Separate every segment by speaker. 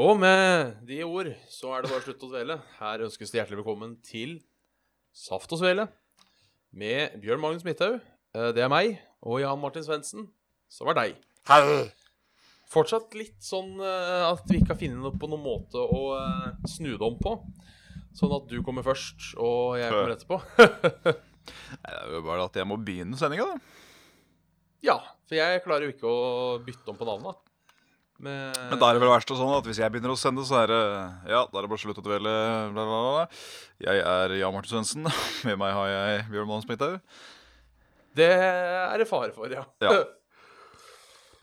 Speaker 1: Og med de ord så er det bare slutt å dvele. Her ønskes det hjertelig velkommen til Saft og Svele med Bjørn Magnus Midthaug. Eh, Det er meg og Jan Martin Svendsen, som er deg. Fortsatt litt sånn eh, at vi ikke har funnet noe på noen måte å eh, snu det om på. Sånn at du kommer først, og jeg kommer etterpå.
Speaker 2: Nei, det er jo bare at jeg må begynne sendinga, da.
Speaker 1: ja, for jeg klarer jo ikke å bytte om på navnet. Men,
Speaker 2: Men da er det vel verst og sånn at hvis jeg begynner å sende, så er det Ja, da er det bare slutt å dvele, bla, bla, bla. Jeg er Jan Martin Svendsen. Med meg har jeg Bjørn Mann Smithaug.
Speaker 1: Det er det fare for, ja.
Speaker 2: Ja.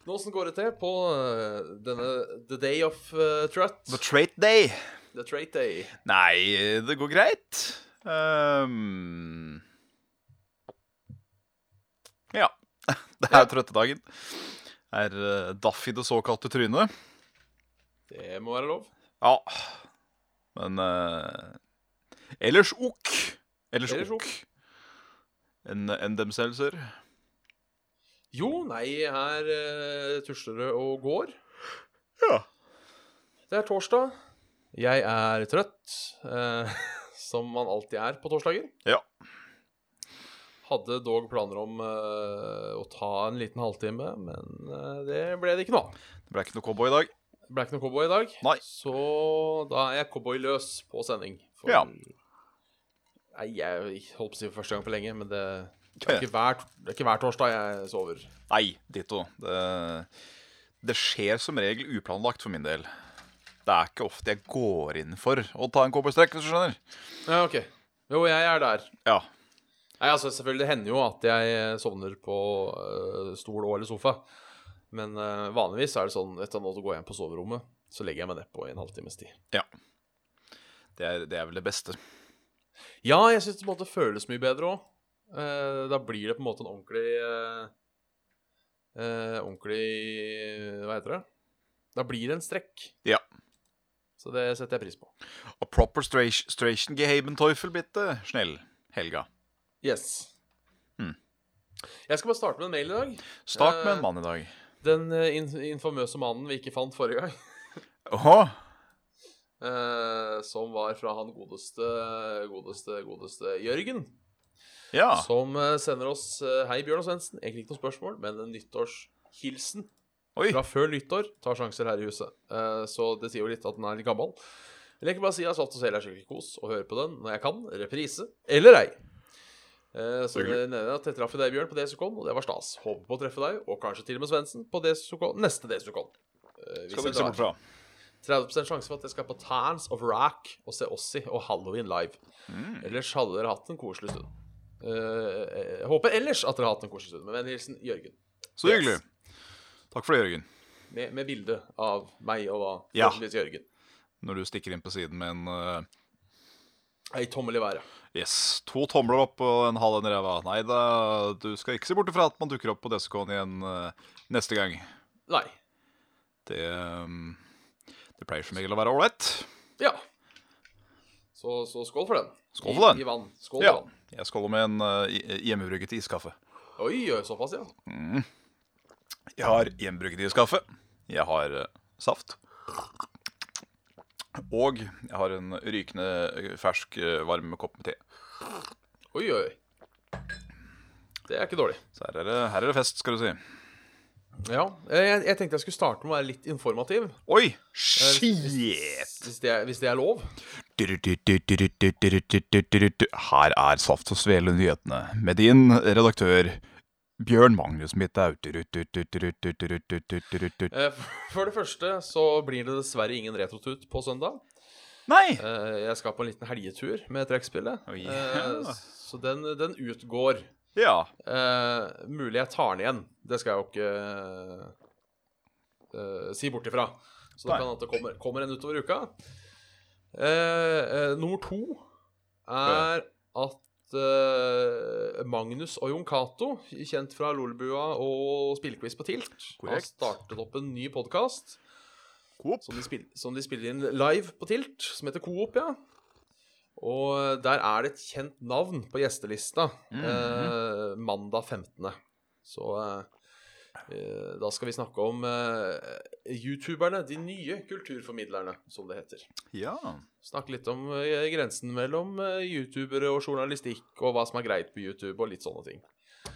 Speaker 1: Men Åssen går det til på eh, denne The Day of eh, Trut?
Speaker 2: The Trait Day.
Speaker 1: The Trait Day.
Speaker 2: Nei, det går greit. Ehm, ja. Det er trøttedagen. Er eh, daff i det såkalte trynet.
Speaker 1: Det må være lov.
Speaker 2: Ja. Men eh, ellers ok. Ellers,
Speaker 1: Ellers
Speaker 2: ok. Enn en dem selv, sir.
Speaker 1: Jo, nei, her eh, tusler det og går.
Speaker 2: Ja.
Speaker 1: Det er torsdag. Jeg er trøtt, eh, som man alltid er på torsdager.
Speaker 2: Ja.
Speaker 1: Hadde dog planer om eh, å ta en liten halvtime, men eh, det ble det ikke noe av.
Speaker 2: Det ble ikke noe cowboy i dag.
Speaker 1: Det ble ikke noe cowboy i dag,
Speaker 2: Nei.
Speaker 1: så da er jeg cowboyløs på sending. For,
Speaker 2: Ja.
Speaker 1: Nei, jeg holdt på å si for første gang på lenge, men det, det, er, ikke hver, det er ikke hver torsdag jeg sover.
Speaker 2: Nei, ditto. Det, det skjer som regel uplanlagt for min del. Det er ikke ofte jeg går inn for å ta en cowboystrekk, hvis du skjønner.
Speaker 1: Ja, ok. Jo, jeg er der.
Speaker 2: Ja.
Speaker 1: Nei, altså selvfølgelig, det hender jo at jeg eh, sovner på øh, stol og eller sofa. Men øh, vanligvis er det sånn, vet du, nå går jeg inn på soverommet, så legger jeg meg ned på en halvtimes tid.
Speaker 2: ja. Det, er, det er vel det beste.
Speaker 1: Ja, jeg syns det på en måte føles mye bedre òg. da blir det på en måte en ordentlig eh, eh, Ordentlig Hva heter det? Da blir det en strekk.
Speaker 2: Ja.
Speaker 1: Så det setter jeg pris på.
Speaker 2: Og proper stration, stration gehaben teufel, bitte snill, Helga.
Speaker 1: Yes.
Speaker 2: Hmm.
Speaker 1: Jeg skal bare starte med en mail i dag.
Speaker 2: Start med
Speaker 1: Eh.
Speaker 2: en mann i dag.
Speaker 1: Den eh, in infamøse mannen vi ikke fant forrige gang.
Speaker 2: Åhå.
Speaker 1: eh, som var fra han godeste, godeste, godeste Jørgen.
Speaker 2: Ja.
Speaker 1: Som eh, sender oss eh, Hei, Bjørn og Svendsen. Egentlig ikke noe spørsmål, men en nyttårshilsen.
Speaker 2: Oi.
Speaker 1: fra før nyttår tar sjanser her i huset. Eh, så det sier jo litt at den er litt gammel. Jeg leker bare å si at Saft og Sel er skikkelig kos å høre på den når jeg kan. Reprise eller ei. Eh, så det
Speaker 2: Hyggelig.
Speaker 1: nevner jeg at jeg traff deg, Bjørn, på DSUKON, og det var stas. Håper på å treffe deg, og kanskje til og med Svendsen, på DSUKon, neste DSUKon. Eh, hvis
Speaker 2: Skal du
Speaker 1: jeg
Speaker 2: ikke se
Speaker 1: drar.
Speaker 2: bort fra.
Speaker 1: 30 sjanse for at jeg skal på Tarns of Rack og se Ossi og Halloween live.
Speaker 2: Mm.
Speaker 1: Ellers hadde dere hatt en koselig stund. Eh, jeg håper ellers at dere har hatt en koselig stund. Med vennlig hilsen Jørgen.
Speaker 2: Så hyggelig. Takk for det, Jørgen.
Speaker 1: Med, med bilde av meg og da
Speaker 2: Ja.
Speaker 1: forhåpentligvis Jørgen.
Speaker 2: Når du stikker inn på siden med en eh,
Speaker 1: Ei tommel i været.
Speaker 2: Yes. To tomler opp og en halv en i ræva. Nei da, du skal ikke se bort ifra at man dukker opp på DSK-en igjen eh, neste gang.
Speaker 1: Nei.
Speaker 2: Det, ehm, det pleier som regel å være ålreit.
Speaker 1: Ja. Så, så skål for den.
Speaker 2: Skål for den.
Speaker 1: I, i vann. Skål
Speaker 2: Ja.
Speaker 1: for den.
Speaker 2: Jeg skåler med en eh, i- hjemmebrygget iskaffe.
Speaker 1: Oi, oi, såpass, ja.
Speaker 2: Jeg har hjemmebrygget iskaffe. Jeg har eh, saft. Og jeg har en rykende eh, fersk, eh, varm kopp med te.
Speaker 1: Oi, oi. Det er ikke dårlig.
Speaker 2: Så her er det, her er det fest, skal du si.
Speaker 1: Ja. Jeg, jeg tenkte jeg skulle starte med å være litt informativ.
Speaker 2: Oi! Shit!
Speaker 1: Hvis det, er- hvis det er lov.
Speaker 2: Her er Saft og Svele nyhetene med din redaktør Bjørn Magnus Midthaug.
Speaker 1: Eh, f- For det første så blir det dessverre ingen retrotut på søndag.
Speaker 2: Nei!
Speaker 1: Eh, Jeg skal på en liten helgetur med trekkspillet,
Speaker 2: Oi.
Speaker 1: Eh, så den, den utgår.
Speaker 2: Ja.
Speaker 1: Eh, mulig jeg tar den igjen. Det skal jeg jo ikke eh, si bort ifra. Så det
Speaker 2: Nei.
Speaker 1: kan hende det kommer, kommer en utover uka. Eh, eh, nummer to er at eh, Magnus og Jon Cato, kjent fra Lolbua og Spillquiz på Tilt, har
Speaker 2: Korrekt.
Speaker 1: startet opp en ny podkast
Speaker 2: Coop.
Speaker 1: som, de spill- som de spiller inn live på Tilt, som heter Coop, ja. Og der er det et kjent navn på gjestelista eh, mandag 15. Så eh, eh, da skal vi snakke om eh, youtuberne, de nye kulturformidlerne, som det heter.
Speaker 2: Ja.
Speaker 1: Snakke litt om eh, grensen mellom eh, youtubere og journalistikk, og hva som er greit på YouTube, og litt sånne ting.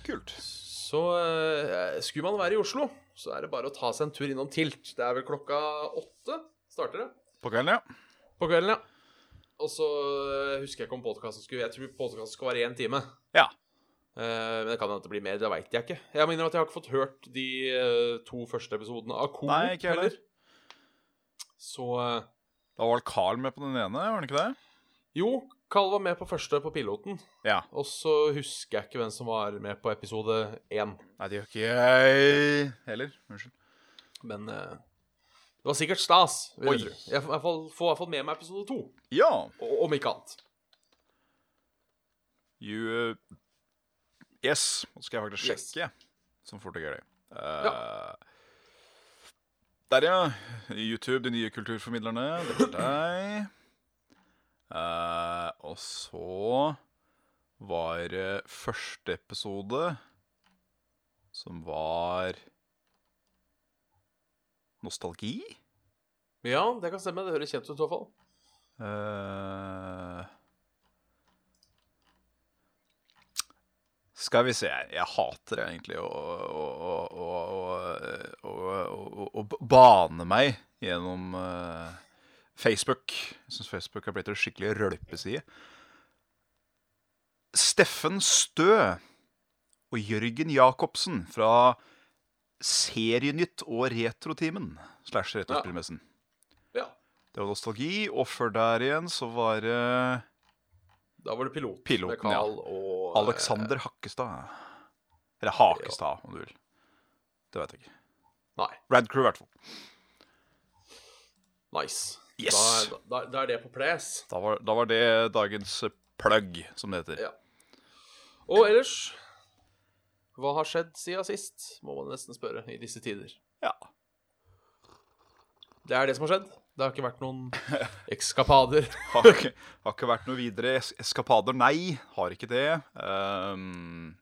Speaker 2: Kult.
Speaker 1: Så eh, skulle man være i Oslo, så er det bare å ta seg en tur innom Tilt. Det er vel klokka åtte starter det.
Speaker 2: På kvelden, ja.
Speaker 1: På kvelden, ja. Og så øh, husker jeg ikke om podkasten skulle Jeg tror podkasten skal være én time.
Speaker 2: Ja.
Speaker 1: Eh, men det kan hende det blir mer. Det veit jeg ikke. Jeg mener at jeg har ikke fått hørt de eh, to første episodene av Coop
Speaker 2: Nei, ikke heller.
Speaker 1: Så eh,
Speaker 2: Da var vel Carl med på den ene, var han ikke det?
Speaker 1: Jo, Carl var med på første på piloten.
Speaker 2: Ja.
Speaker 1: Og så husker jeg ikke hvem som var med på episode én.
Speaker 2: Nei, det gjør ikke jeg heller. Unnskyld.
Speaker 1: Men eh, det var sikkert stas. Vil
Speaker 2: Oi.
Speaker 1: jeg, tro. jeg får i hvert fall- får i hvert fall med meg episode to,
Speaker 2: Ja.
Speaker 1: o- om ikke annet.
Speaker 2: You uh, Yes. Nå skal jeg faktisk
Speaker 1: Yes.
Speaker 2: sjekke, som fort jeg gjør det. Eh, Der, ja. YouTube, de nye kulturformidlerne. Det var deg. Eh, og så var det første episode, som var Nostalgi?
Speaker 1: Ja, det kan stemme. Det høres kjent ut i så fall.
Speaker 2: Eh, skal vi se her Jeg hater egentlig å, å, å, å, å, å, å, å b- bane meg gjennom eh, Facebook. Jeg syns Facebook har blitt en skikkelig rølpeside. Steffen Stø og Jørgen Jacobsen fra Serienytt og Retrotimen slash Retrospillmessen.
Speaker 1: Ja,
Speaker 2: Det var nostalgi, og før der igjen så var det eh,
Speaker 1: Da var det pilot
Speaker 2: Piloten,
Speaker 1: med Carl og eh,
Speaker 2: Alexander Hakkestad. Eller Hakestad, om du vil. Det veit jeg ikke.
Speaker 1: eh, Nei.
Speaker 2: Radcrew, i hvert fall.
Speaker 1: Nice.
Speaker 2: Yes.
Speaker 1: Da, er- da, da er det på ples.
Speaker 2: Da var, da var det dagens eh, plug, som det heter.
Speaker 1: Ja. Og ellers Hva har skjedd siden sist, må man nesten spørre i disse tider.
Speaker 2: Ja.
Speaker 1: Det er det som har skjedd. Det har ikke vært noen ekskapader.
Speaker 2: Har, ikke, har ikke vært noe videre es eskapader. Nei, har ikke det. Ehm,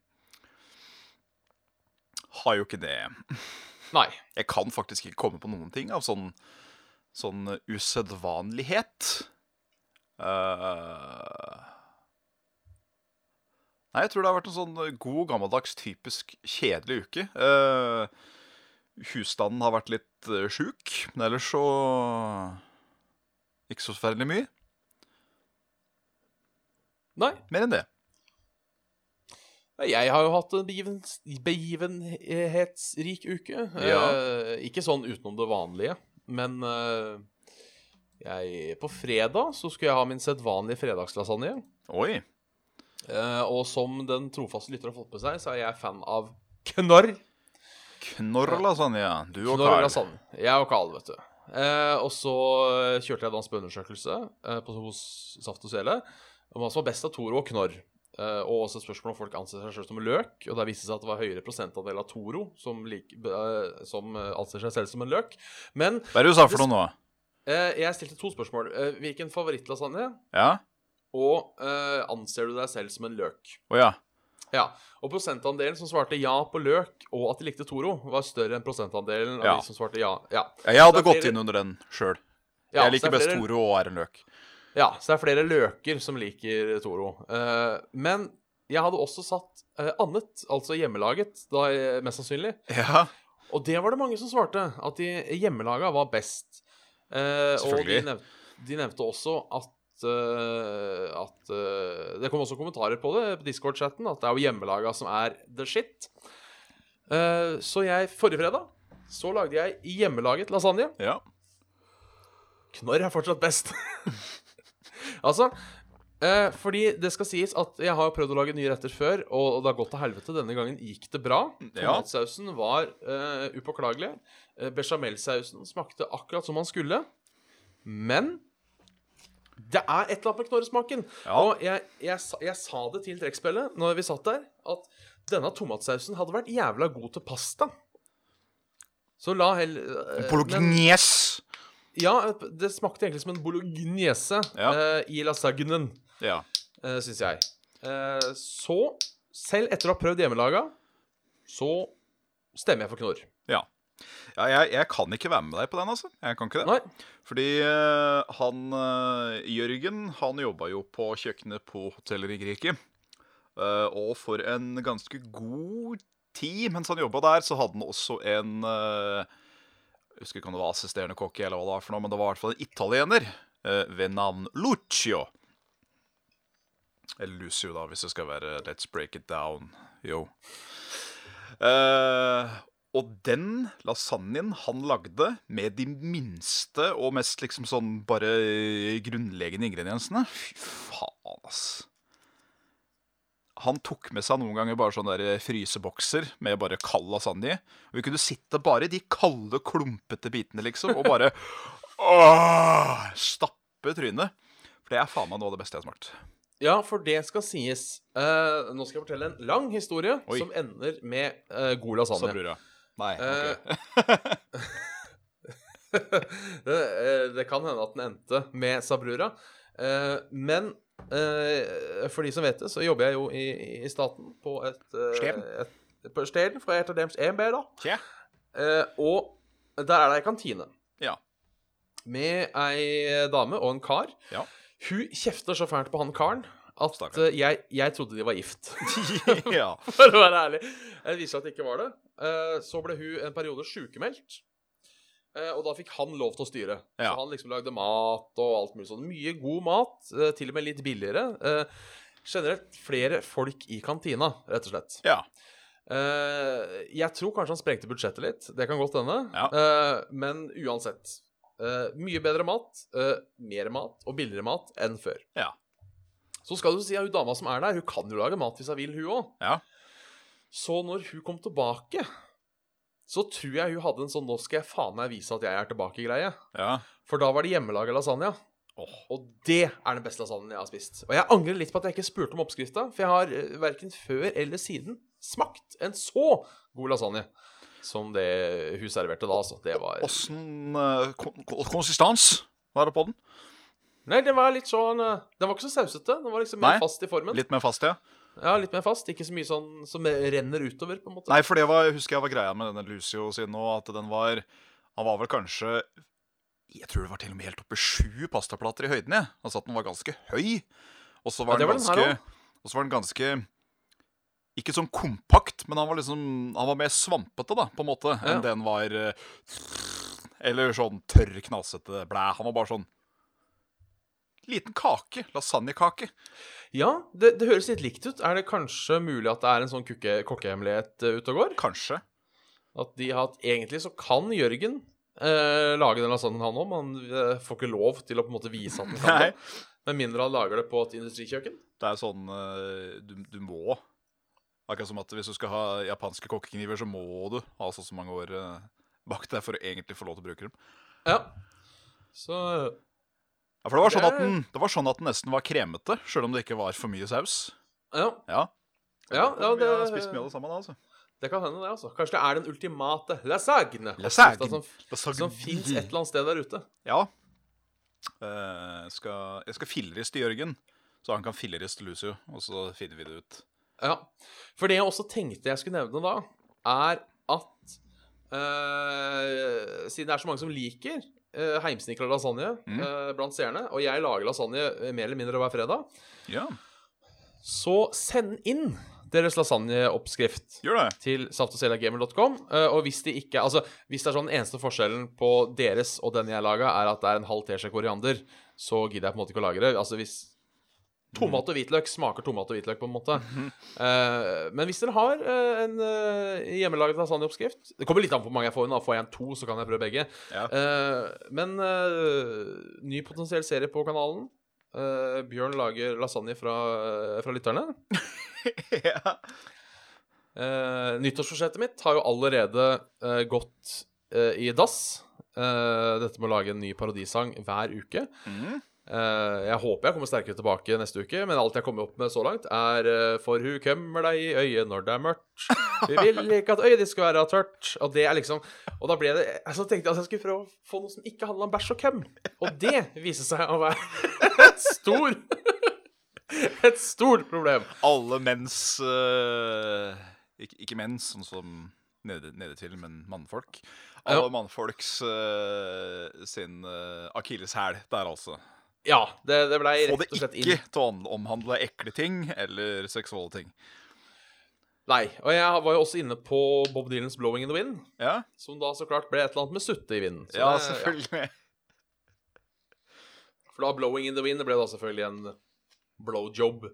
Speaker 2: har jo ikke det.
Speaker 1: Nei.
Speaker 2: Jeg kan faktisk ikke komme på noen ting av sånn, sånn usedvanlighet. Eh, Nei, jeg tror det har vært en sånn god, gammeldags, typisk kjedelig uke. Eh, husstanden har vært litt uh, sjuk, men ellers så Ikke så forferdelig mye.
Speaker 1: Nei.
Speaker 2: Mer enn det.
Speaker 1: Jeg har jo hatt en bevens- begivenhetsrik uke.
Speaker 2: Ja.
Speaker 1: Eh, ikke sånn utenom det vanlige, men eh, jeg, på fredag så skulle jeg ha min sedvanlige fredagslasagne.
Speaker 2: Oi.
Speaker 1: Eh, og som den trofaste lytter har fått med seg, så er jeg fan av knarr.
Speaker 2: Knorr lasagne. ja. Du og
Speaker 1: Knarr
Speaker 2: Carl.
Speaker 1: lasagne. Jeg og Carl, vet du. Eh, og så eh, kjørte jeg dans på undersøkelse eh, på, hos Saft og Svele om hva som var best av Toro og Knorr. Eh, og også et spørsmål om folk anser seg selv som løk. Og der viste det seg at det var høyere prosentandel av Toro som, lik, eh, som eh, anser seg selv som en løk. Men
Speaker 2: Hva er det du sa for noe nå?
Speaker 1: eh, jeg stilte to spørsmål. Eh, hvilken favorittlasagne?
Speaker 2: Ja?
Speaker 1: Og eh, anser du deg selv som en løk?
Speaker 2: Å ja.
Speaker 1: Ja, og prosentandelen som svarte ja på løk, og at de likte Toro, var større enn prosentandelen av
Speaker 2: Ja.
Speaker 1: de som svarte ja. Ja,
Speaker 2: ja. Jeg
Speaker 1: Det
Speaker 2: hadde
Speaker 1: er
Speaker 2: gått
Speaker 1: flere-
Speaker 2: inn under den sjøl.
Speaker 1: ja
Speaker 2: jeg
Speaker 1: så
Speaker 2: liker
Speaker 1: det er
Speaker 2: best
Speaker 1: flere-
Speaker 2: Toro og er en løk.
Speaker 1: Ja, så det er flere løker som liker Toro. Eh, men jeg hadde også satt eh, annet, altså hjemmelaget, da, eh, mest sannsynlig.
Speaker 2: Ja,
Speaker 1: Og det var det mange som svarte, at de hjemmelaga var best. Eh, og de,
Speaker 2: Selvfølgelig.
Speaker 1: nev de nevnte også at eh, at eh, Det kom også kommentarer på det på Discord-chatten, at det er jo hjemmelaga som er the shit. Eh, så jeg Forrige fredag så lagde jeg hjemmelaget lasagne.
Speaker 2: ja.
Speaker 1: Knorr er fortsatt best. altså Eh, fordi det skal sies at jeg har prøvd å lage nye retter før, og det har gått til helvete. Denne gangen gikk det bra.
Speaker 2: Ja.
Speaker 1: Tomatsausen var eh, upåklagelig. Eh, Bechamelsausen smakte akkurat som man skulle. Men det er et eller annet med knorresmaken.
Speaker 2: Ja.
Speaker 1: Og jeg, jeg, sa- jeg sa det til trekkspillet når vi satt der, at denne tomatsausen hadde vært jævla god til pasta. Så la hell eh, men-
Speaker 2: Polognes!
Speaker 1: Ja, det smakte egentlig som en bolognese
Speaker 2: Ja.
Speaker 1: eh, i lasagnen
Speaker 2: Ja.
Speaker 1: uh, syns jeg. Eh, så, selv etter å ha prøvd hjemmelaga, så stemmer jeg for knorr.
Speaker 2: ja. ja jeg, jeg kan ikke være med deg på den, altså. Jeg kan ikke det.
Speaker 1: Nei,
Speaker 2: Fordi eh, han eh, Jørgen, han jobba jo på kjøkkenet på hoteller i Greki. Eh, og for en ganske god tid mens han jobba der, så hadde han også en eh, Jeg husker ikke om det var assisterende kokke, eller hva det var, for noe, men det var i hvert fall en italiener eh, ved navn Lucio. Eller Lucio, da, hvis det skal være Let's break it down, yo. Eh, og den lasagnen han lagde med de minste og mest liksom sånn bare grunnleggende ingrediensene Fy faen, ass. Han tok med seg noen ganger bare sånne der frysebokser med bare kald lasagne. Og vi kunne sitte bare i de kalde, klumpete bitene, liksom, og bare åh, stappe trynet. For det er faen meg noe av det beste jeg har smakt.
Speaker 1: Ja, for det skal sies. Eh, nå skal jeg fortelle en lang historie
Speaker 2: Oi.
Speaker 1: som ender med eh, god lasagne.
Speaker 2: brura. Nei, ok.
Speaker 1: det, eh, det kan hende at den endte med Sabrura. Eh, men eh, for de som vet det, så jobber jeg jo i, i staten på et, eh,
Speaker 2: Steden.
Speaker 1: et På Steden, for jeg heter deres EMB, E da.
Speaker 2: Tja.
Speaker 1: Eh, og der er det ei kantine.
Speaker 2: Ja.
Speaker 1: Med ei dame og en kar.
Speaker 2: Ja.
Speaker 1: Hun kjefter så fælt på han karen at
Speaker 2: Stakkar.
Speaker 1: eh, jeg, jeg trodde de var gift.
Speaker 2: ja.
Speaker 1: For å være ærlig. Det viser seg at det ikke var det. Eh, Så ble hun en periode sykemeldt. Eh, Og da fikk han lov til å styre.
Speaker 2: Ja.
Speaker 1: Så han liksom lagde mat og alt mulig sånn. Mye god mat, eh, til og med litt billigere. Eh, Generelt flere folk i kantina, rett og slett.
Speaker 2: Ja.
Speaker 1: Eh, jeg tror kanskje han sprengte budsjettet litt. Det kan godt hende.
Speaker 2: Ja.
Speaker 1: Eh, men uansett. eh, mye bedre mat, eh, mer mat og billigere mat enn før.
Speaker 2: Ja.
Speaker 1: Så skal du si at hun dama som er der, hun kan jo lage mat hvis hun vil, hun òg.
Speaker 2: Ja.
Speaker 1: Så når hun kom tilbake, så tror jeg hun hadde en sånn 'nå skal jeg faen meg vise at jeg er tilbake'-greie.
Speaker 2: ja.
Speaker 1: For da var det hjemmelaga lasagne.
Speaker 2: Åh.
Speaker 1: Og det er den beste lasagnen jeg har spist. Og jeg angrer litt på at jeg ikke spurte om oppskrifta, for jeg har eh, verken før eller siden smakt en så god lasagne som det hun serverte da, altså. Det var
Speaker 2: Åssen eh, kon- kon- konsistens var det på den?
Speaker 1: Nei, den var litt sånn eh, Den var ikke så sausete. Den var liksom mer
Speaker 2: Nei.
Speaker 1: fast i formen.
Speaker 2: Litt mer fast, ja.
Speaker 1: Ja, litt mer fast. Ikke så mye sånn som renner utover, på en måte.
Speaker 2: Nei, for det var, jeg husker jeg var greia med denne Lucio sin nå, at den var Han var vel kanskje Jeg tror det var til og med helt oppe i sju pastaplater i høyden, jeg. Altså at den var ganske høy. Og så var,
Speaker 1: Ja, det
Speaker 2: den
Speaker 1: var den her
Speaker 2: ganske Og så var den ganske ikke sånn kompakt, men han var liksom Han var mer svampete, da, på en måte,
Speaker 1: Ja.
Speaker 2: enn den var eh, Eller sånn tørr, knasete blæ. Han var bare sånn Liten kake. Lasagnekake.
Speaker 1: Ja, det, det høres litt likt ut. Er det kanskje mulig at det er en sånn kukke- kokkehemmelighet eh, ute og går?
Speaker 2: Kanskje.
Speaker 1: At de har hatt Egentlig så kan Jørgen eh, lage den lasagnen han òg, men han eh, får ikke lov til å på en måte vise at han kan
Speaker 2: Nei.
Speaker 1: det. Med mindre han lager det på et industrikjøkken.
Speaker 2: Det er sånn eh, du, du må. Akkurat som at hvis du skal ha japanske kokkekniver, så må du ha så og så mange år eh, bak deg for å egentlig få lov til å bruke dem.
Speaker 1: Ja. Så
Speaker 2: Ja, For det var sånn
Speaker 1: Det er-
Speaker 2: at den, det var sånn at den nesten var kremete, sjøl om det ikke var for mye saus.
Speaker 1: Ja.
Speaker 2: Ja,
Speaker 1: Ja, ja
Speaker 2: Vi har
Speaker 1: det,
Speaker 2: spist mye av det sammen, da, altså.
Speaker 1: det kan hende, det. altså Kanskje det er den ultimate lasagne.
Speaker 2: Lasagne.
Speaker 1: oppskriften Som, som fins et eller annet sted der ute.
Speaker 2: Ja. Eh, skal, jeg skal filleriste Jørgen, så han kan filleriste Lucio, og så finner vi det ut.
Speaker 1: Ja. For det jeg også tenkte jeg skulle nevne da, er at eh, Siden det er så mange som liker uh, heimsnikra lasagne
Speaker 2: Mm.
Speaker 1: eh, blant seerne, og jeg lager lasagne eh, mer eller mindre hver fredag,
Speaker 2: Ja,
Speaker 1: så send inn deres lasagneoppskrift
Speaker 2: gjør det.
Speaker 1: til saftogselagamel.com. eh, Og hvis de ikke Altså, hvis det er sånn den eneste forskjellen på deres og den jeg laga, er at det er en halv teskje koriander, så gidder jeg på en måte ikke å lagre. Altså hvis Tomat og hvitløk smaker tomat og hvitløk, på en måte. Eh, men hvis dere har eh, en eh, hjemmelaget lasagneoppskrift Det kommer litt an på hvor mange jeg får inn. da. Får jeg en to, så kan jeg prøve begge.
Speaker 2: Ja.
Speaker 1: Eh, men eh, ny potensiell serie på kanalen. Eh, Bjørn lager lasagne fra, fra lytterne.
Speaker 2: ja.
Speaker 1: Eh, nyttårsforsettet mitt har jo allerede eh, gått eh, i dass. Eh, dette med å lage en ny parodisang hver uke.
Speaker 2: Mm.
Speaker 1: Eh, jeg håper jeg kommer sterkere tilbake neste uke, men alt jeg kommer opp med så langt, er eh, For hu kommer deg i øyet når det er mørkt. Vi vil ikke at øyet ditt skal være tørt. Og det er liksom Og da ble det Så tenkte jeg at jeg skulle prøve å få noe som ikke handla om bæsj og køm. Og det viste seg å være et stor Et stort problem.
Speaker 2: Alle mens eh, ikke, ikke mens, sånn som nede, nedetil, men mannfolk. Alle
Speaker 1: Ja.
Speaker 2: mannfolks eh, sin uh, akilleshæl der, altså.
Speaker 1: Ja, det, det blei
Speaker 2: Få det
Speaker 1: rett og slett inn.
Speaker 2: ikke til å omhandle ekle ting eller seksuelle ting.
Speaker 1: Nei. Og jeg var jo også inne på Bob Dylans 'Blowing in the Wind',
Speaker 2: Ja,
Speaker 1: som da så klart ble et eller annet med sutte i vinden. Så
Speaker 2: ja
Speaker 1: det-
Speaker 2: selvfølgelig.
Speaker 1: For da 'Blowing in the Wind' det ble da selvfølgelig en blowjob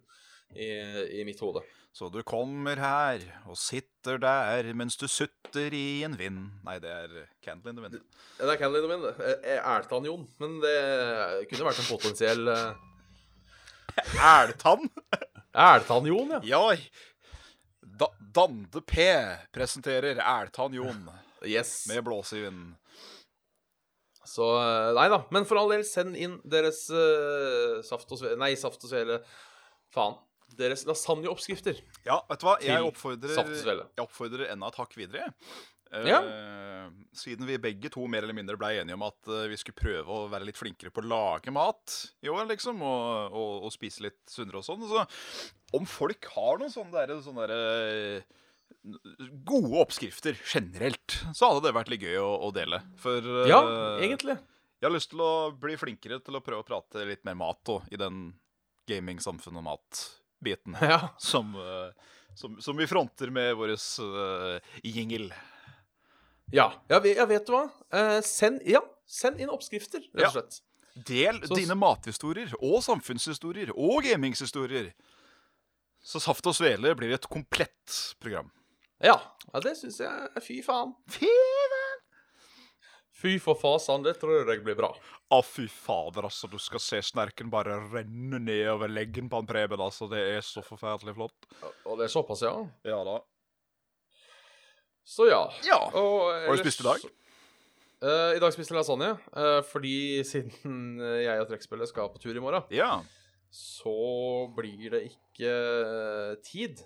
Speaker 1: i, i mitt hode.
Speaker 2: Så du kommer her og sitter der mens du sutter i en vind. Nei, det er Candle in the Wind.
Speaker 1: Ja, Det er Candy in the Wind. det. Jeg- Jeg ælte han Jon, eh, men det kunne vært en potensiell eh,
Speaker 2: Æltann!
Speaker 1: Ælte han Jon, ja.
Speaker 2: Ja. Da Dande P presenterer Æltann Jon
Speaker 1: Yes.
Speaker 2: med blåse i vinden.
Speaker 1: Så eh, Nei da. Men for all del, send inn deres eh, saft og svele Nei, saft og svele. Faen. Deres lasagneoppskrifter.
Speaker 2: Ja, vet du hva? Jeg
Speaker 1: Til
Speaker 2: oppfordrer,
Speaker 1: saft og svele.
Speaker 2: jeg oppfordrer enda et hakk videre. Eh, Siden vi begge to mer eller mindre ble enige om at eh, vi skulle prøve å være litt flinkere på å lage mat i år, liksom, og, og, og spise litt sunnere og sånn, så om folk har noen sånne der, sånne der eh, gode oppskrifter generelt, så hadde det vært litt gøy å, å dele. For eh,
Speaker 1: Ja, egentlig.
Speaker 2: jeg har lyst til å bli flinkere til å prøve å prate litt mer mat og, i den gaming-samfunn og mat-biten
Speaker 1: Ja.
Speaker 2: som, eh, som, som vi fronter med vår jingle.
Speaker 1: Ja, ja, vi- ja vet du hva? Eh, send, ja, send inn oppskrifter, rett
Speaker 2: Ja.
Speaker 1: og slett.
Speaker 2: Del
Speaker 1: Så-
Speaker 2: dine mathistorier og samfunnshistorier og gamingshistorier. Så Saft og Svele blir et komplett program.
Speaker 1: Ja, ja det syns jeg Fy faen.
Speaker 2: Fy
Speaker 1: Fy for fasan, det tror jeg blir bra.
Speaker 2: Å, fy fader, altså. Du skal se snerken bare renne nedover leggen på han Preben. altså. Det er så forferdelig flott.
Speaker 1: Og det er såpass, ja.
Speaker 2: Ja da.
Speaker 1: Så ja.
Speaker 2: Ja.
Speaker 1: Og ellers-
Speaker 2: spist i dag?
Speaker 1: Eh, I dag spiste jeg lasagne, eh, fordi siden eh, jeg og trekkspillet skal på tur i morgen,
Speaker 2: Ja.
Speaker 1: så blir det ikke eh, tid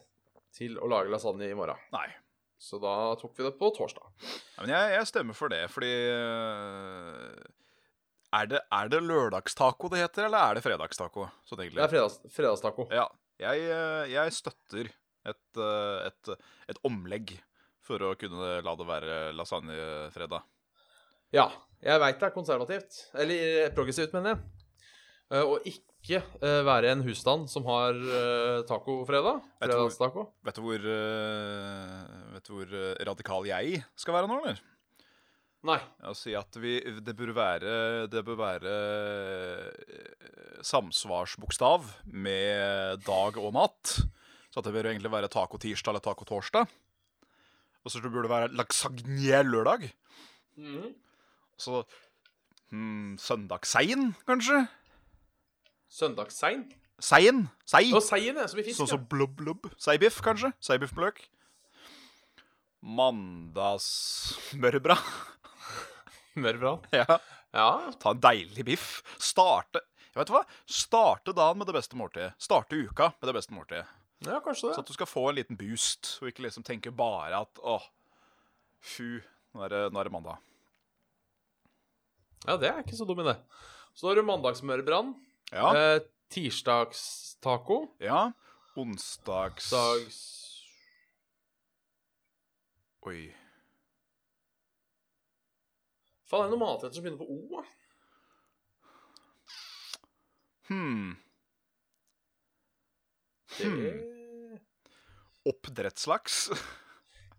Speaker 1: til å lage lasagne i morgen.
Speaker 2: Nei.
Speaker 1: Så da tok vi det på torsdag.
Speaker 2: Ja, Men jeg, jeg stemmer for det, fordi øh, er det, er det lørdagstaco det heter, eller er det fredagstaco? Sånn
Speaker 1: Det er
Speaker 2: egentlig.
Speaker 1: fredags, fredagstaco.
Speaker 2: Ja. Jeg, øh, jeg støtter et, øh, et, et omlegg for å kunne la det være lasagnefredag.
Speaker 1: Ja, jeg veit det er konservativt. Eller eh, progressivt, mener jeg. Eh, Og ikke eh, være en husstand som har eh, tacofredag.
Speaker 2: Jeg tror-
Speaker 1: Fredagstaco.
Speaker 2: Vet du hvor, øh, vet du hvor øh, radikal jeg skal være nå, eller?
Speaker 1: Nei.
Speaker 2: Jeg vil si at vi, det bør være, det bør være eh, samsvarsbokstav med dag og natt. Så at det bør egentlig være taco tirsdag eller taco torsdag. Og så burde det være lasagne lørdag. Så hmm, søndagsseien, kanskje?
Speaker 1: Søndagssein.
Speaker 2: Seien? Sei?
Speaker 1: Og seien, som i fisk.
Speaker 2: Sånn
Speaker 1: ja.
Speaker 2: som blubb, blubb. Seibiff, kanskje? Seibiff med løk. Mandagssmørbrad.
Speaker 1: Mørbran.
Speaker 2: ja.
Speaker 1: Ja.
Speaker 2: Ta en deilig biff. Starte jeg vet hva? Starte dagen med det beste måltidet. Starte uka med det beste måltidet.
Speaker 1: ja, kanskje
Speaker 2: Så
Speaker 1: det.
Speaker 2: at du skal få en liten boost, og ikke liksom tenke bare at åh, fy, nå er det, nå er det mandag.
Speaker 1: Ja, det er ikke så dum idé. Så har du mandagsmørbrann.
Speaker 2: Ja.
Speaker 1: Eh, Tirsdagstaco.
Speaker 2: ja. Onsdags...
Speaker 1: Dags...
Speaker 2: Oi.
Speaker 1: Faen, er det noen matretter som begynner på O? da?
Speaker 2: Hmm.
Speaker 1: Det...
Speaker 2: Hmm. Oppdrettslaks.